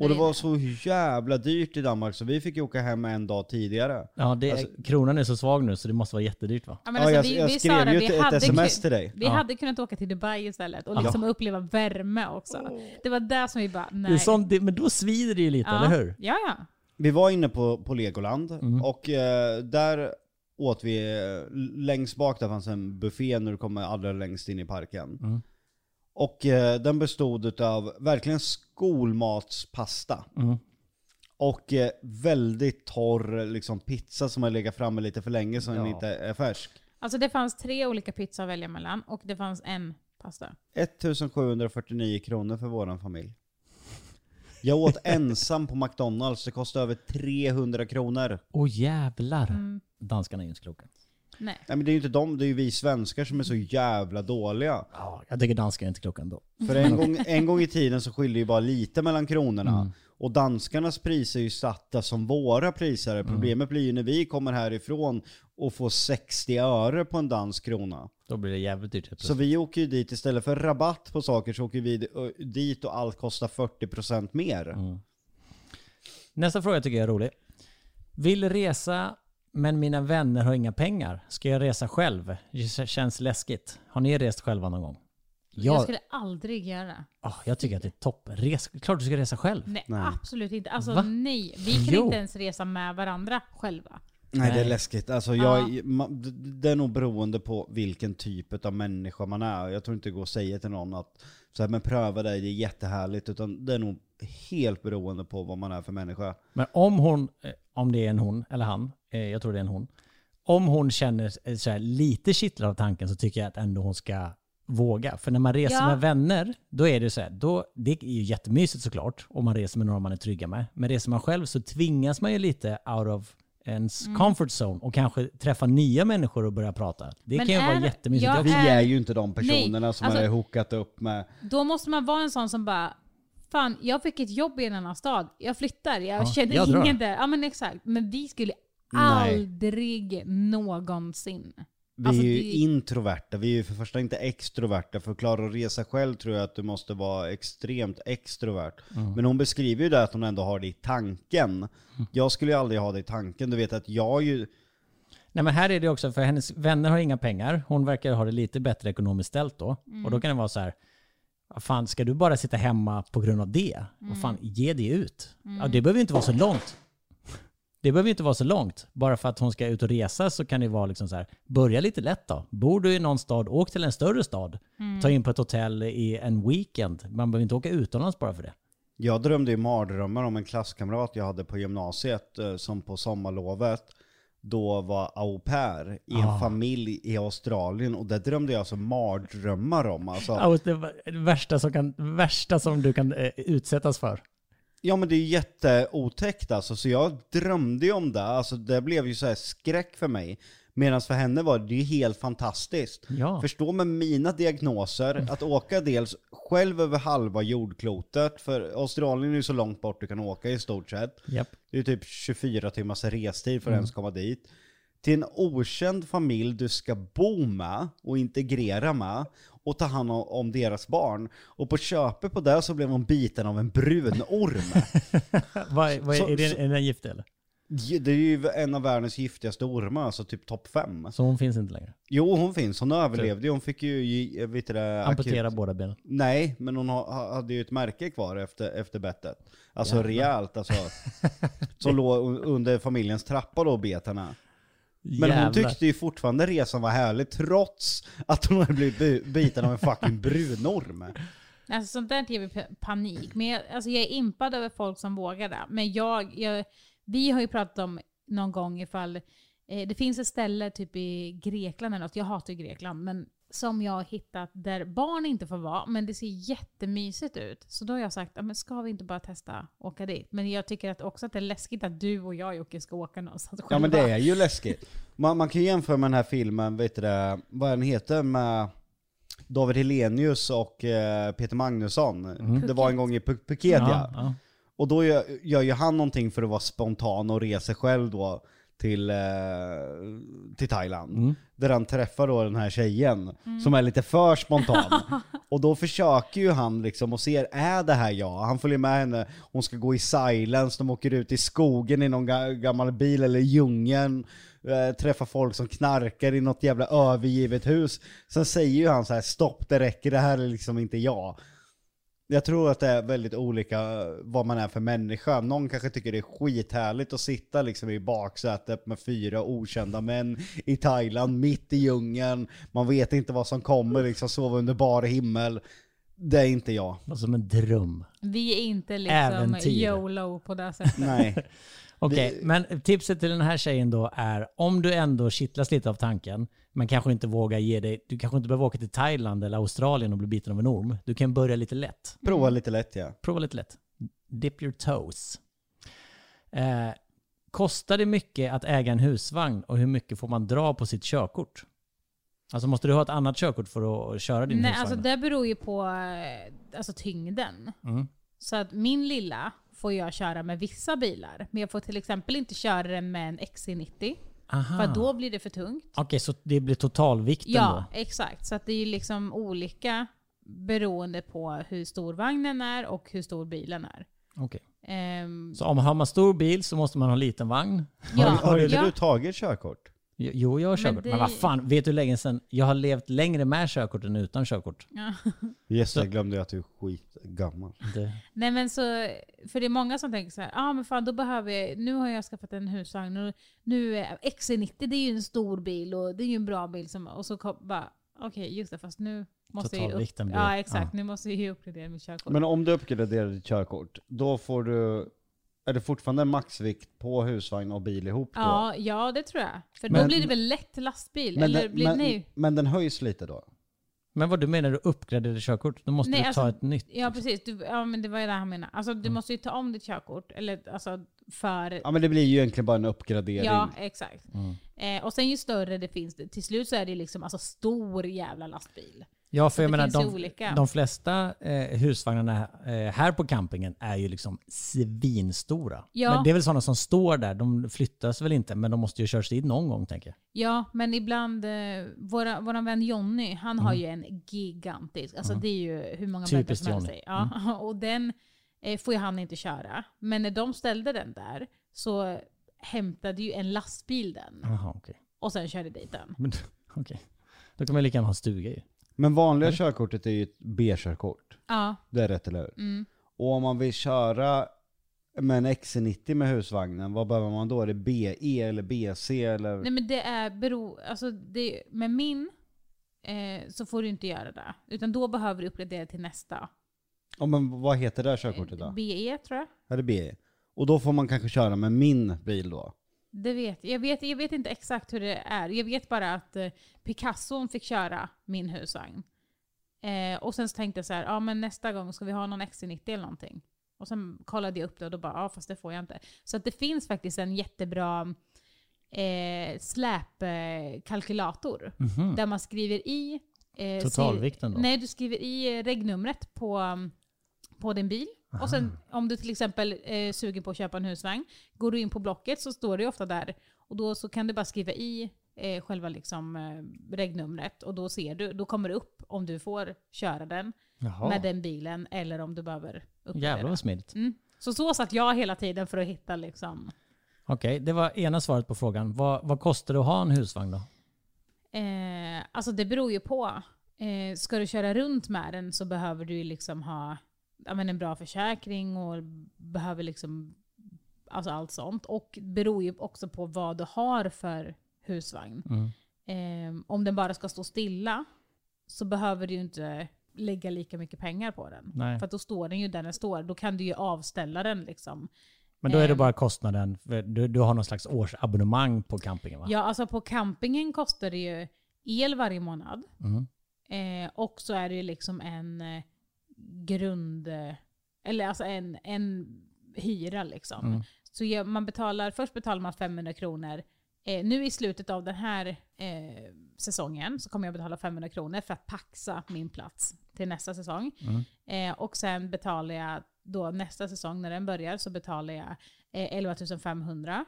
Speaker 2: Och det var så jävla dyrt i Danmark så vi fick ju åka hem en dag tidigare.
Speaker 3: Ja, det är,
Speaker 2: Alltså-
Speaker 3: kronan är så svag nu så det måste vara jättedyrt va?
Speaker 4: Ja,
Speaker 2: Ja,
Speaker 4: men alltså,
Speaker 2: jag-
Speaker 4: vi,
Speaker 2: jag
Speaker 4: vi
Speaker 2: skrev
Speaker 4: sa det,
Speaker 2: ju
Speaker 4: vi
Speaker 2: ett- ett
Speaker 4: hade
Speaker 2: SMS
Speaker 4: kun-
Speaker 2: till dig.
Speaker 4: Vi
Speaker 3: Ja.
Speaker 4: hade kunnat åka till Dubai istället och liksom uppleva värme också. Det var där som vi bara, nej.
Speaker 3: Det är sånt, det, men då svider det ju lite,
Speaker 4: ja.
Speaker 3: eller hur?
Speaker 4: Ja, ja.
Speaker 2: Vi var inne på, på Legoland och eh, där åt vi, eh, längst bak där fanns en buffé när du kommer allra längst in i parken. Och eh, den bestod av verkligen skolmatspasta. Och eh, väldigt torr liksom, pizza som har legat framme lite för länge så den
Speaker 3: Ja.
Speaker 2: inte är färsk.
Speaker 4: Alltså det fanns tre olika pizzor att välja mellan och det fanns en pasta.
Speaker 2: 1749 kronor för våran familj. Jag åt ensam på McDonalds, det kostade över 300 kronor.
Speaker 3: Åh jävlar.
Speaker 4: Mm.
Speaker 3: Danskarna är ju inte kloka.
Speaker 4: Nej.
Speaker 2: Nej men det är ju inte de, det är ju vi svenskar som är så jävla dåliga.
Speaker 3: Ja, jag tycker danskar är inte kloka ändå.
Speaker 2: För en gång, en gång i tiden så skilde ju bara lite mellan kronorna. Och danskarnas priser är ju satta som våra priser. Problemet blir ju när vi kommer härifrån och får 60 öre på en dansk krona.
Speaker 3: Då blir det jävligt dyrt. helt
Speaker 2: Så vi åker ju dit istället för rabatt på saker så åker vi ö, dit och allt kostar 40% mer.
Speaker 3: Nästa fråga tycker jag är rolig. Vill resa men mina vänner har inga pengar. Ska jag resa själv? Det känns läskigt. Har ni rest själva någon gång?
Speaker 4: Jag
Speaker 3: Jag,
Speaker 4: skulle aldrig göra.
Speaker 3: ah, jag tycker att det är toppres. Klart du ska resa själv.
Speaker 4: Nej, absolut inte. Alltså
Speaker 3: Va?
Speaker 4: nej, vi kan
Speaker 3: Jo.
Speaker 4: inte ens resa med varandra själva.
Speaker 2: Nej, det är
Speaker 3: Nej.
Speaker 2: läskigt. Alltså, jag, ma- d- d- det är nog beroende på vilken typ av människa man är. Jag tror inte det går att säga till någon att så här, men pröva dig, det är jättehärligt. Utan det är nog helt beroende på vad man är för människa.
Speaker 3: Men om hon, eh, om det är en hon eller han, eh, jag tror det är en hon. Om hon känner eh, så här, lite kittlad av tanken så tycker jag att ändå hon ska våga. För när man reser
Speaker 4: Ja.
Speaker 3: med vänner, då är det så här, då, det är ju jättemysigt såklart om man reser med någon man är trygga med. Men reser man själv så tvingas man ju lite out of ens
Speaker 4: Mm.
Speaker 3: comfort zone och kanske träffa nya människor och börja prata. Det
Speaker 4: Men
Speaker 3: kan ju
Speaker 4: är-
Speaker 3: vara jättemysigt.
Speaker 4: jag
Speaker 3: Jag,
Speaker 2: Vi
Speaker 4: Äh,
Speaker 2: är ju inte de personerna
Speaker 4: nej,
Speaker 2: som
Speaker 4: alltså-
Speaker 2: är hookat upp med...
Speaker 4: Då måste man vara en sån som bara, fan jag fick ett jobb i en annan stad, jag flyttar, jag
Speaker 3: Ja,
Speaker 4: känner
Speaker 3: jag drar."
Speaker 4: ingen där. Ja men exakt, men vi skulle aldrig någonsin.
Speaker 2: Vi
Speaker 4: Alltså,
Speaker 2: är ju
Speaker 4: det-
Speaker 2: introverta, vi är ju för första inte extroverta. För att klara att resa själv tror jag att du måste vara extremt extrovert. Men hon beskriver ju det att hon ändå har det i tanken. Jag skulle ju aldrig ha det i tanken. Du vet att jag är ju...
Speaker 3: nej men här är det också, för hennes vänner har inga pengar. Hon verkar ha det lite bättre ekonomiskt ställt då. Och då kan det vara så här, vad fan, ska du bara sitta hemma på grund av det? Vad fan, ge det ut. Ja, det behöver ju inte vara så långt. Det behöver ju inte vara så långt. Bara för att hon ska ut och resa så kan det vara liksom så här, börja lite lätt då. Bor du i någon stad, åk till en större stad. Ta in på ett hotell i en weekend. Man behöver inte åka utomlands bara för det.
Speaker 2: Jag drömde ju mardrömmar om en klasskamrat jag hade på gymnasiet eh, som på sommarlovet då var au pair i en familj i Australien och det drömde jag alltså mardrömmar om. Alltså,
Speaker 3: Ja, Det var det värsta som, kan, värsta som du kan eh, utsättas för.
Speaker 2: ja men det är ju jätteotäckt alltså, så jag drömde ju om det. Alltså, det blev ju så här skräck för mig. Medan för henne var det ju helt fantastiskt.
Speaker 3: Ja.
Speaker 2: Förstå med mina diagnoser, att åka dels själv över halva jordklotet, för Australien är ju så långt bort du kan åka i stort sett.
Speaker 3: Japp.
Speaker 2: Det är typ 24 timmars restid för att ens komma dit. Till en okänd familj du ska bo med och integrera med och ta hand om- om deras barn. Och på köpet på det så blev hon biten av en brunorm.
Speaker 3: Vad, vad,
Speaker 2: Så-
Speaker 3: är, det,
Speaker 2: så-
Speaker 3: är den gift eller?
Speaker 2: Det är ju en av världens giftigaste ormar, alltså typ topp fem.
Speaker 3: Så hon finns inte längre?
Speaker 2: Jo, hon finns. Hon överlevde ju. Hon fick ju, ge- vet du det,
Speaker 3: Amputera
Speaker 2: akut-
Speaker 3: båda benen.
Speaker 2: Nej, men hon ha- ha- hade ju ett märke kvar efter, efter bettet. Alltså rejält alltså. Som låg un- under familjens trappa då, betarna. Men hon tyckte ju fortfarande resan var härlig trots att hon hade blivit bu- biten av en fucking brunorm.
Speaker 4: Alltså sånt där ger mig panik. Men jag, alltså, jag är impad över folk som vågar det. Men jag, jag, vi har ju pratat om någon gång ifall, eh, det finns ett ställe typ i Grekland eller något, jag hatar ju Grekland, men som jag har hittat där barn inte får vara, men det ser jättemysigt ut. Så då har jag sagt, "Ja, men ska vi inte bara testa åka dit? Men jag tycker att också att det är läskigt att du och jag Jocke ska åka någonstans
Speaker 2: Ja men det
Speaker 4: själva.
Speaker 2: är ju läskigt. Man, man kan ju jämföra med den här filmen, vet du det, vad den heter, med David Helenius och eh, Peter Magnusson. Det var en gång i Pu- Phuket Mm. ja.
Speaker 3: Ja, ja.
Speaker 2: Och då gör, gör ju han någonting för att vara spontan och reser själv då till, eh, till Thailand. Där han träffar då den här tjejen som är lite för spontan. och då försöker ju han liksom och ser, är det här jag? Han följer med henne, hon ska gå i silence, de åker ut i skogen i någon ga- gammal bil eller i djungeln. Eh, träffar folk som knarkar i något jävla övergivet hus. Sen säger ju han så här, stopp det räcker, det här är liksom inte jag. Jag tror att det är väldigt olika eh, vad man är för människa. Någon kanske tycker det är skithärligt att sitta liksom i baksätet med fyra okända män i Thailand, mitt i djungeln. Man vet inte vad som kommer, liksom sova under bar himmel. Det är inte jag.
Speaker 3: Vad Alltså, Som en dröm.
Speaker 4: Vi är inte liksom
Speaker 3: Äventyr.
Speaker 4: YOLO på det sättet.
Speaker 2: Nej.
Speaker 3: Okej, men tipset till den här tjejen då är om du ändå kittlas lite av tanken, men kanske inte vågar ge dig, du kanske inte behöver åka till Thailand eller Australien och bli biten av en orm. Du kan börja lite lätt.
Speaker 2: Prova lite lätt ja.
Speaker 3: Prova lite lätt. Dip your toes. Eh, kostar det mycket att äga en husvagn och hur mycket får man dra på sitt körkort? Alltså måste du ha ett annat körkort för att köra din
Speaker 4: Nej,
Speaker 3: husvagn?
Speaker 4: alltså det beror ju på eh, alltså, tyngden.
Speaker 3: Mm.
Speaker 4: Så att min lilla får jag köra med vissa bilar. Men jag får till exempel inte köra den med en XC90.
Speaker 3: Aha.
Speaker 4: För att då blir det för tungt.
Speaker 3: Okej, så det blir totalvikten
Speaker 4: Ja,
Speaker 3: då?
Speaker 4: exakt. Så att det är ju liksom olika beroende på hur stor vagnen är och hur stor bilen är.
Speaker 3: Okej.
Speaker 4: Ehm,
Speaker 3: Så om har man stor bil så måste man ha en liten vagn?
Speaker 4: ja,
Speaker 2: Har, har inte
Speaker 4: ja.
Speaker 2: du tagit körkort?
Speaker 3: Jo, jag har körkort. Men,
Speaker 4: det-
Speaker 3: vad fan, vet du hur länge sedan jag har levt längre med körkort än utan körkort?
Speaker 2: Yes, jag glömde ju att du är skitgammal.
Speaker 3: Det,
Speaker 4: Nej men så, för det är många som tänker så här, ah, men fan då behöver jag, nu har jag skaffat en husvagn och nu är XC90 det är ju en stor bil och det är ju en bra bil som, och så kom, bara, okej just det fast nu måste jag ju upp,
Speaker 3: Totalvikten blir-
Speaker 4: ja exakt,
Speaker 3: ja.
Speaker 4: nu måste jag ju uppgradera mitt körkort.
Speaker 2: Men om du uppgraderar ditt körkort, då får du... Är det fortfarande maxvikt på husvagn och bil ihop då?
Speaker 4: ja, ja det tror jag. För
Speaker 3: Men-
Speaker 4: då blir det väl lätt lastbil,
Speaker 2: Men,
Speaker 4: eller
Speaker 2: den-
Speaker 4: blir
Speaker 2: men,
Speaker 4: nej.
Speaker 2: men den höjs lite då?
Speaker 3: men vad du menar, du uppgraderade körkort? Då måste
Speaker 4: Nej,
Speaker 3: du ta
Speaker 4: alltså-
Speaker 3: ett nytt?
Speaker 4: Ja precis, du, ja, men det var ju det han menade. Alltså
Speaker 3: Mm.
Speaker 4: du måste ju ta om ditt körkort, eller alltså för
Speaker 2: Ja men det blir ju egentligen bara en uppgradering.
Speaker 4: Ja, exakt.
Speaker 3: Mm.
Speaker 4: Eh, och sen ju större det finns, till slut så är det ju liksom alltså stor jävla lastbil.
Speaker 3: Ja, för jag
Speaker 4: alltså, det
Speaker 3: menar
Speaker 4: finns ju
Speaker 3: de,
Speaker 4: olika.
Speaker 3: de flesta eh, husvagnarna eh, här på campingen är ju liksom svinstora.
Speaker 4: Ja.
Speaker 3: Men det är väl sådana som står där, de flyttas väl inte, men de måste ju köras dit någon gång tänker jag.
Speaker 4: Ja, men ibland, eh, våra, våran vän Jonny, han har ju en gigantisk, alltså det är ju hur många bäddar
Speaker 3: Mm. Typiskt
Speaker 4: som helst.
Speaker 3: Jonny. Mm.
Speaker 4: i. Ja, och den eh, får ju han inte köra. Men när de ställde den där så hämtade ju en lastbil den
Speaker 3: Jaha, okej.
Speaker 4: och sen körde dit den.
Speaker 3: Men- okej. Då kan man ju lika gärna ha en stuga ju.
Speaker 2: Men vanliga körkortet är ju ett B-körkort.
Speaker 4: Ja, mm.
Speaker 2: Det är rätt eller hur? Och om man vill köra med en XC90 med husvagnen, vad behöver man då? Är det BE eller BC eller?
Speaker 4: Nej men det är bero, alltså det, med min eh, så får du inte göra det. Utan då behöver du uppgradera till nästa.
Speaker 2: Ja, men vad heter det här körkortet
Speaker 4: Eh,
Speaker 2: då?
Speaker 4: BE tror jag.
Speaker 2: Är det BE? Och då får man kanske köra med min bil då?
Speaker 4: Det vet jag. Vet, jag vet inte exakt hur det är. Jag vet bara att eh, Picasso fick köra min husvagn. Eh, och sen så tänkte jag så här, ja men nästa gång ska vi ha någon XC90 eller någonting. Och sen kollade jag upp det och då bara, ja fast det får jag inte. Så att det finns faktiskt en jättebra eh, släpkalkylator. Där man skriver i... Eh,
Speaker 3: Mm. Totalvikten då?
Speaker 4: Nej, du skriver i eh, regnumret på, um, på din bil. Och sen om du till exempel är sugen på att köpa en husvagn, går du in på Blocket så står det ju ofta där. Och då så kan du bara skriva i eh, själva liksom, eh, regnumret och då ser du, då kommer det upp om du får köra den
Speaker 3: Jaha.
Speaker 4: med den bilen eller om du behöver
Speaker 3: Jävlar
Speaker 4: uppgradera.
Speaker 3: vad smidigt.
Speaker 4: Mm. Så så satt jag hela tiden för att hitta liksom.
Speaker 3: Okej, det var ena svaret på frågan. Vad, vad kostar det att ha en husvagn då?
Speaker 4: Eh, alltså det beror ju på. Eh, ska du köra runt med den så behöver du ju liksom ha ja, men en bra försäkring och behöver liksom alltså allt sånt. Och beror ju också på vad du har för husvagn.
Speaker 3: Mm.
Speaker 4: Eh, om den bara ska stå stilla så behöver du ju inte lägga lika mycket pengar på den.
Speaker 3: Nej.
Speaker 4: För att då står den ju där den står. Då kan du ju avställa den liksom.
Speaker 3: Men då är det
Speaker 4: Ehm.
Speaker 3: bara kostnaden, för du, du har någon slags årsabonnemang på campingen va? Mm.
Speaker 4: Ja, alltså på campingen kostar det ju el varje månad. Eh, och så är det ju liksom en eh, grund... eh, Eller alltså en, en hyra liksom. Så gör- man betalar, först betalar man 500 kronor. Eh, nu i slutet av den här eh, säsongen så kommer jag betala 500 kronor för att paxa min plats till nästa säsong. Eh, och sen betalar jag då nästa säsong när den börjar så betalar jag eh, 11 500.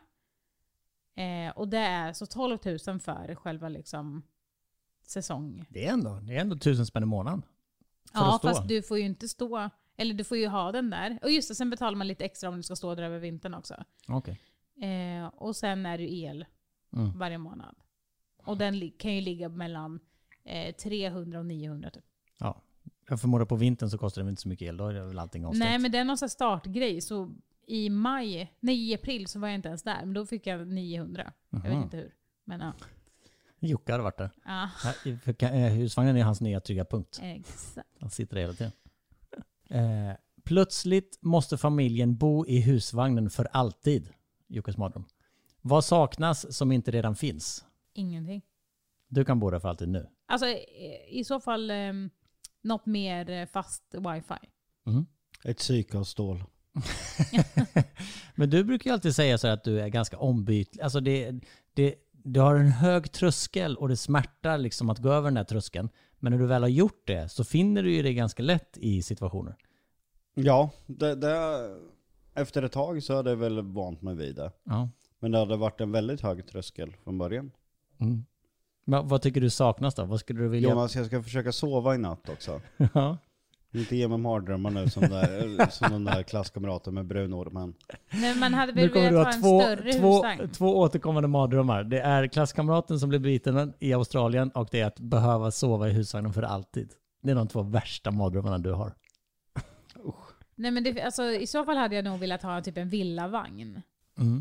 Speaker 4: Eh, och det är så 12 000 för själva liksom säsong.
Speaker 3: Det är ändå, det är ändå tusen spänn i månaden. För
Speaker 4: Ja,
Speaker 3: att stå.
Speaker 4: fast du får ju inte stå, eller du får ju ha den där. Och just det, sen betalar man lite extra om du ska stå där över vintern också.
Speaker 3: Okej.
Speaker 4: Eh, och sen är det el
Speaker 3: Mm.
Speaker 4: varje månad. Och den li- kan ju ligga mellan eh, 300 och 900 typ.
Speaker 3: Ja. Jag förmodar på vintern så kostar det väl inte så mycket el, då är det väl allting avstängt.
Speaker 4: Nej men det är någon sån här startgrej. Så i maj, nej i april så var jag inte ens där. Men då fick jag 900. Jag vet inte hur. Men ja.
Speaker 3: Jocke hade varit där.
Speaker 4: ja
Speaker 3: Ja, för ka- eh, Husvagnen är hans nya trygga punkt.
Speaker 4: exakt.
Speaker 3: Han sitter där hela tiden. Eh, plötsligt måste familjen bo i husvagnen för alltid. Jockes mardröm. Vad saknas som inte redan finns?
Speaker 4: Ingenting.
Speaker 3: Du kan bo där för alltid nu.
Speaker 4: Alltså eh, i så fall eh, något mer eh, fast wifi.
Speaker 2: Ett psyke av stål.
Speaker 3: Men du brukar ju alltid säga så här att du är ganska ombytlig. Alltså det, det, du har en hög tröskel och det smärtar liksom att gå över den där tröskeln. Men när du väl har gjort det så finner du ju det ganska lätt i situationer.
Speaker 2: Ja, det, det, efter ett tag så hade jag väl vant mig vid det.
Speaker 3: Ja.
Speaker 2: Men det hade varit en väldigt hög tröskel från början.
Speaker 3: Men vad tycker du saknas då? Vad skulle du vilja...
Speaker 2: Jonas, jag ska försöka sova i natt också.
Speaker 3: Ja.
Speaker 2: Inte ge mig mardrömmar nu som, där, som den där klasskamraten med brunor.
Speaker 4: Nej, men man hade
Speaker 3: Nu
Speaker 4: väl
Speaker 3: kommer du
Speaker 4: velat ha
Speaker 3: ha
Speaker 4: en
Speaker 3: två,
Speaker 4: större
Speaker 3: två,
Speaker 4: husvagn.
Speaker 3: två återkommande mardrömmar. Det är klasskamraten som blir biten i Australien och det är att behöva sova i husvagnen för alltid. Det är de två värsta mardrömmarna du har.
Speaker 4: Nej men det, alltså, i så fall hade jag nog velat ha typ en villavagn.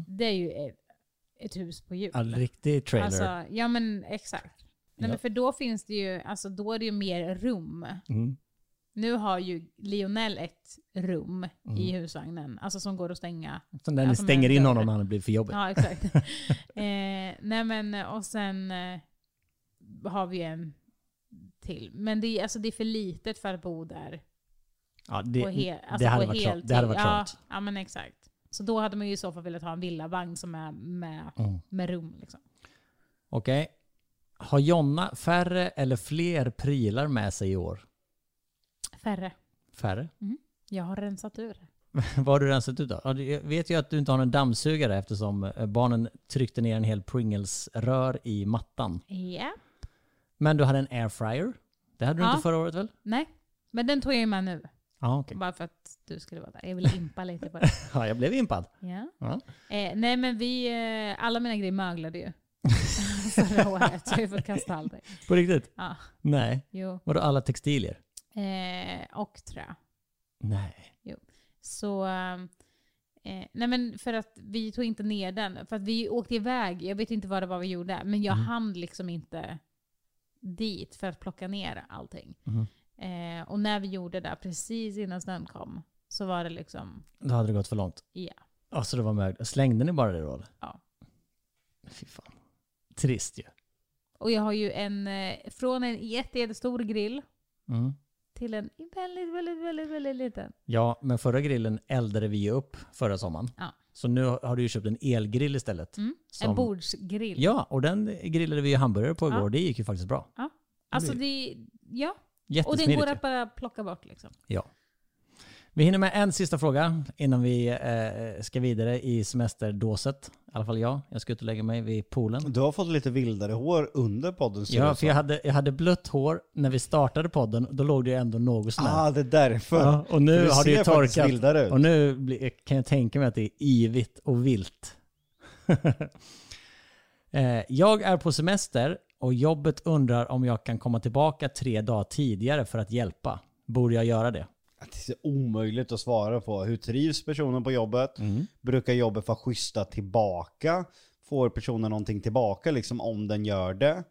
Speaker 4: Det är ju ett, ett hus på hjul.
Speaker 3: En Mm. riktig trailer.
Speaker 4: Alltså, ja men exakt.
Speaker 3: Ja.
Speaker 4: Nej, men för då finns det ju, alltså då är det ju mer rum.
Speaker 3: Mm.
Speaker 4: Nu har ju Lionel ett rum i
Speaker 3: Mm.
Speaker 4: husvagnen, alltså som går att stänga.
Speaker 3: Som när ni
Speaker 4: alltså,
Speaker 3: stänger
Speaker 4: med
Speaker 3: in
Speaker 4: dörr.
Speaker 3: honom när han blir för jobbig.
Speaker 4: Ja exakt. eh, nej men och sen eh, har vi en till. Men det är, alltså, det är för litet för att bo där
Speaker 3: Ja, det,
Speaker 4: på he- alltså
Speaker 3: det hade
Speaker 4: på
Speaker 3: varit
Speaker 4: heltid.
Speaker 3: trångt. Det hade varit
Speaker 4: ja,
Speaker 3: trångt.
Speaker 4: ja, men exakt. Så då hade man ju i så fall velat ha en villavagn som är med,
Speaker 3: Mm.
Speaker 4: med rum. Liksom.
Speaker 3: Okej. Har Jonna färre eller fler prylar med sig i år?
Speaker 4: Färre.
Speaker 3: Färre?
Speaker 4: Mm. Jag har rensat ur.
Speaker 3: Vad har du rensat ut då? Ja, det- Jag vet ju att du inte har en dammsugare eftersom eh, barnen tryckte ner en hel Pringles-rör i mattan.
Speaker 4: Ja.
Speaker 3: Men du hade en airfryer. Det hade du
Speaker 4: Ja.
Speaker 3: inte förra året väl?
Speaker 4: Nej, men den tog jag ju med nu.
Speaker 3: Ja, okej.
Speaker 4: Bara för att du skulle vara där. Jag ville impa lite på det.
Speaker 3: Ja, jag blev impad.
Speaker 4: Ja.
Speaker 3: Ja.
Speaker 4: Eh, nej men vi, eh, alla mina grejer möglade ju. Förra året. Så jag får kasta allt.
Speaker 3: På riktigt?
Speaker 4: Ja,
Speaker 3: Nej.
Speaker 4: jo.
Speaker 3: Vadå alla textilier?
Speaker 4: Eh, och trä.
Speaker 3: Nej.
Speaker 4: Så, eh, nej men för att vi tog inte ner den. För att vi åkte iväg, jag vet inte vad det var vi gjorde, men jag
Speaker 3: Mm.
Speaker 4: hann liksom inte dit för att plocka ner allting.
Speaker 3: Mm-hmm.
Speaker 4: Eh, och när vi gjorde det, precis innan snön kom, så var det liksom,
Speaker 3: Då hade det gått för långt.
Speaker 4: ja.
Speaker 3: Ja, så det var mög. Slängde ni bara det då? eller?
Speaker 4: Ja.
Speaker 3: Fy fan. Trist ju.
Speaker 4: Och jag har ju en, eh, från en jätte, jättestor grill
Speaker 3: Mm.
Speaker 4: till en väldigt, väldigt, väldigt, väldigt liten.
Speaker 3: Ja, men förra grillen eldade vi ju upp förra sommaren.
Speaker 4: Ja. Mm.
Speaker 3: Så nu har du ju köpt en elgrill istället. Som-
Speaker 4: En bordsgrill.
Speaker 3: Ja, och den grillade vi ju hamburgare på igår.
Speaker 4: Ja.
Speaker 3: Det gick ju faktiskt bra.
Speaker 4: alltså det, ja. Och
Speaker 3: Jättesmidigt.
Speaker 4: den går
Speaker 3: ju.
Speaker 4: att bara plocka bort liksom.
Speaker 3: Ja. Vi hinner med en sista fråga innan vi eh, ska vidare i semesterdåset. I alla fall jag. Jag ska ut och lägga mig vid poolen.
Speaker 2: Du har fått lite vildare hår under podden ser det
Speaker 3: Ja,
Speaker 2: ut
Speaker 3: för jag hade, jag hade blött hår när vi startade podden. Då låg det ju ändå något
Speaker 2: som.
Speaker 3: sånär.
Speaker 2: Ah, det är därför.
Speaker 3: ja, och nu
Speaker 2: Du
Speaker 3: har det ju
Speaker 2: ser faktiskt
Speaker 3: torkat.
Speaker 2: vildare ut.
Speaker 3: Och nu blir, kan jag tänka mig att det är yvigt och vilt. Eh, jag är på semester och jobbet undrar om jag kan komma tillbaka tre dagar tidigare för att hjälpa. Borde jag göra det?
Speaker 2: Det är omöjligt att svara på. Hur trivs personen på jobbet?
Speaker 3: Mm.
Speaker 2: Brukar jobbet vara schyssta tillbaka? Får personen någonting tillbaka liksom om den gör det?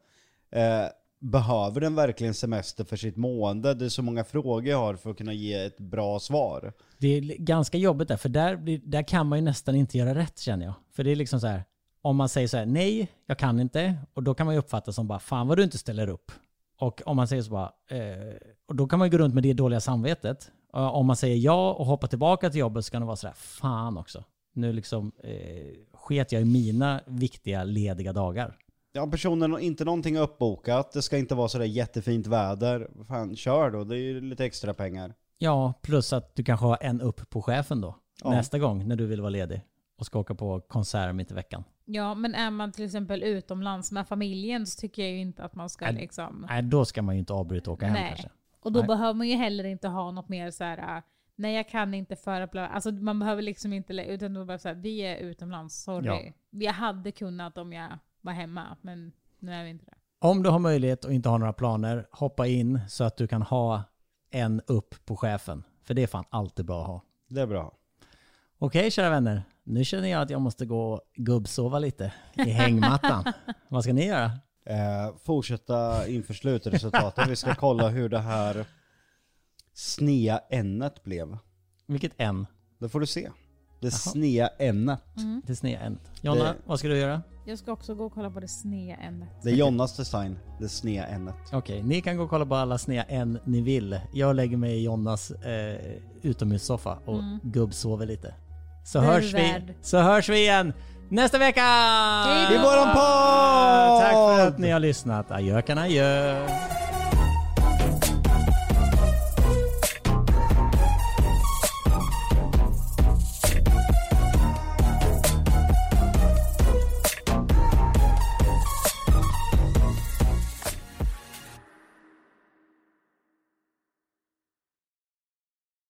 Speaker 2: Eh, behöver den verkligen semester för sitt mående? Det är så många frågor jag har för att kunna ge ett bra svar.
Speaker 3: Det är li- ganska jobbigt där, för där, blir, där kan man ju nästan inte göra rätt känner jag. För det är liksom så här, om man säger så här, nej, jag kan inte, och då kan man ju uppfatta som bara, fan vad du inte ställer upp. Och om man säger så bara, eh, och då kan man ju gå runt med det dåliga samvetet. Eh, om man säger ja och hoppar tillbaka till jobbet så kan det vara sådär, fan också. Nu liksom eh, sket jag i mina viktiga lediga dagar.
Speaker 2: Ja, personen har inte någonting uppbokat, det ska inte vara sådär jättefint väder. Fan, kör då, det är ju lite extra pengar.
Speaker 3: Ja, plus att du kanske har en upp på chefen då. Nästa gång när du vill vara ledig och ska åka på konsert mitt i veckan.
Speaker 4: Ja, men är man till exempel utomlands med familjen så tycker jag ju inte att man ska
Speaker 3: Nej.
Speaker 4: liksom...
Speaker 3: Nej, då ska man ju inte avbryta och åka hem kanske.
Speaker 4: Och då
Speaker 3: Nej.
Speaker 4: behöver man ju heller inte ha något mer så här. äh, nej jag kan inte föra bla, bla." Alltså man behöver liksom inte, lä- utan då bara så här, vi är utomlands, sorry. Jag hade kunnat om jag var hemma, men nu är vi inte det.
Speaker 3: Om du har möjlighet och inte har några planer, hoppa in så att du kan ha en upp på chefen. För det är fan alltid bra att ha.
Speaker 2: Det är bra.
Speaker 3: Okej kära vänner, nu känner jag att jag måste gå och gubbsova lite i hängmattan. Vad ska ni göra?
Speaker 2: Eh, fortsätta inför slutresultatet, vi ska kolla hur det här snea ännet blev.
Speaker 3: Vilket N?
Speaker 2: Det får du se. Det snea ännet.
Speaker 4: Mm.
Speaker 3: Det sneda N. Jonna,
Speaker 2: Det-
Speaker 3: vad ska du göra?
Speaker 4: Jag ska också gå och kolla på det sneda ämnet.
Speaker 2: Det är Jonnas design, det snea ännet.
Speaker 3: Okej, ni kan gå och kolla på alla sneda N ni vill. Jag lägger mig i Jonnas eh, utomhussoffa och gubbsover lite. Så
Speaker 4: Mm. Det är
Speaker 3: hörs, vi,
Speaker 4: värd.
Speaker 3: så hörs vi igen nästa vecka!
Speaker 4: Hej
Speaker 2: I våran podd!
Speaker 3: Tack för att ni har lyssnat. Adjökan adjö.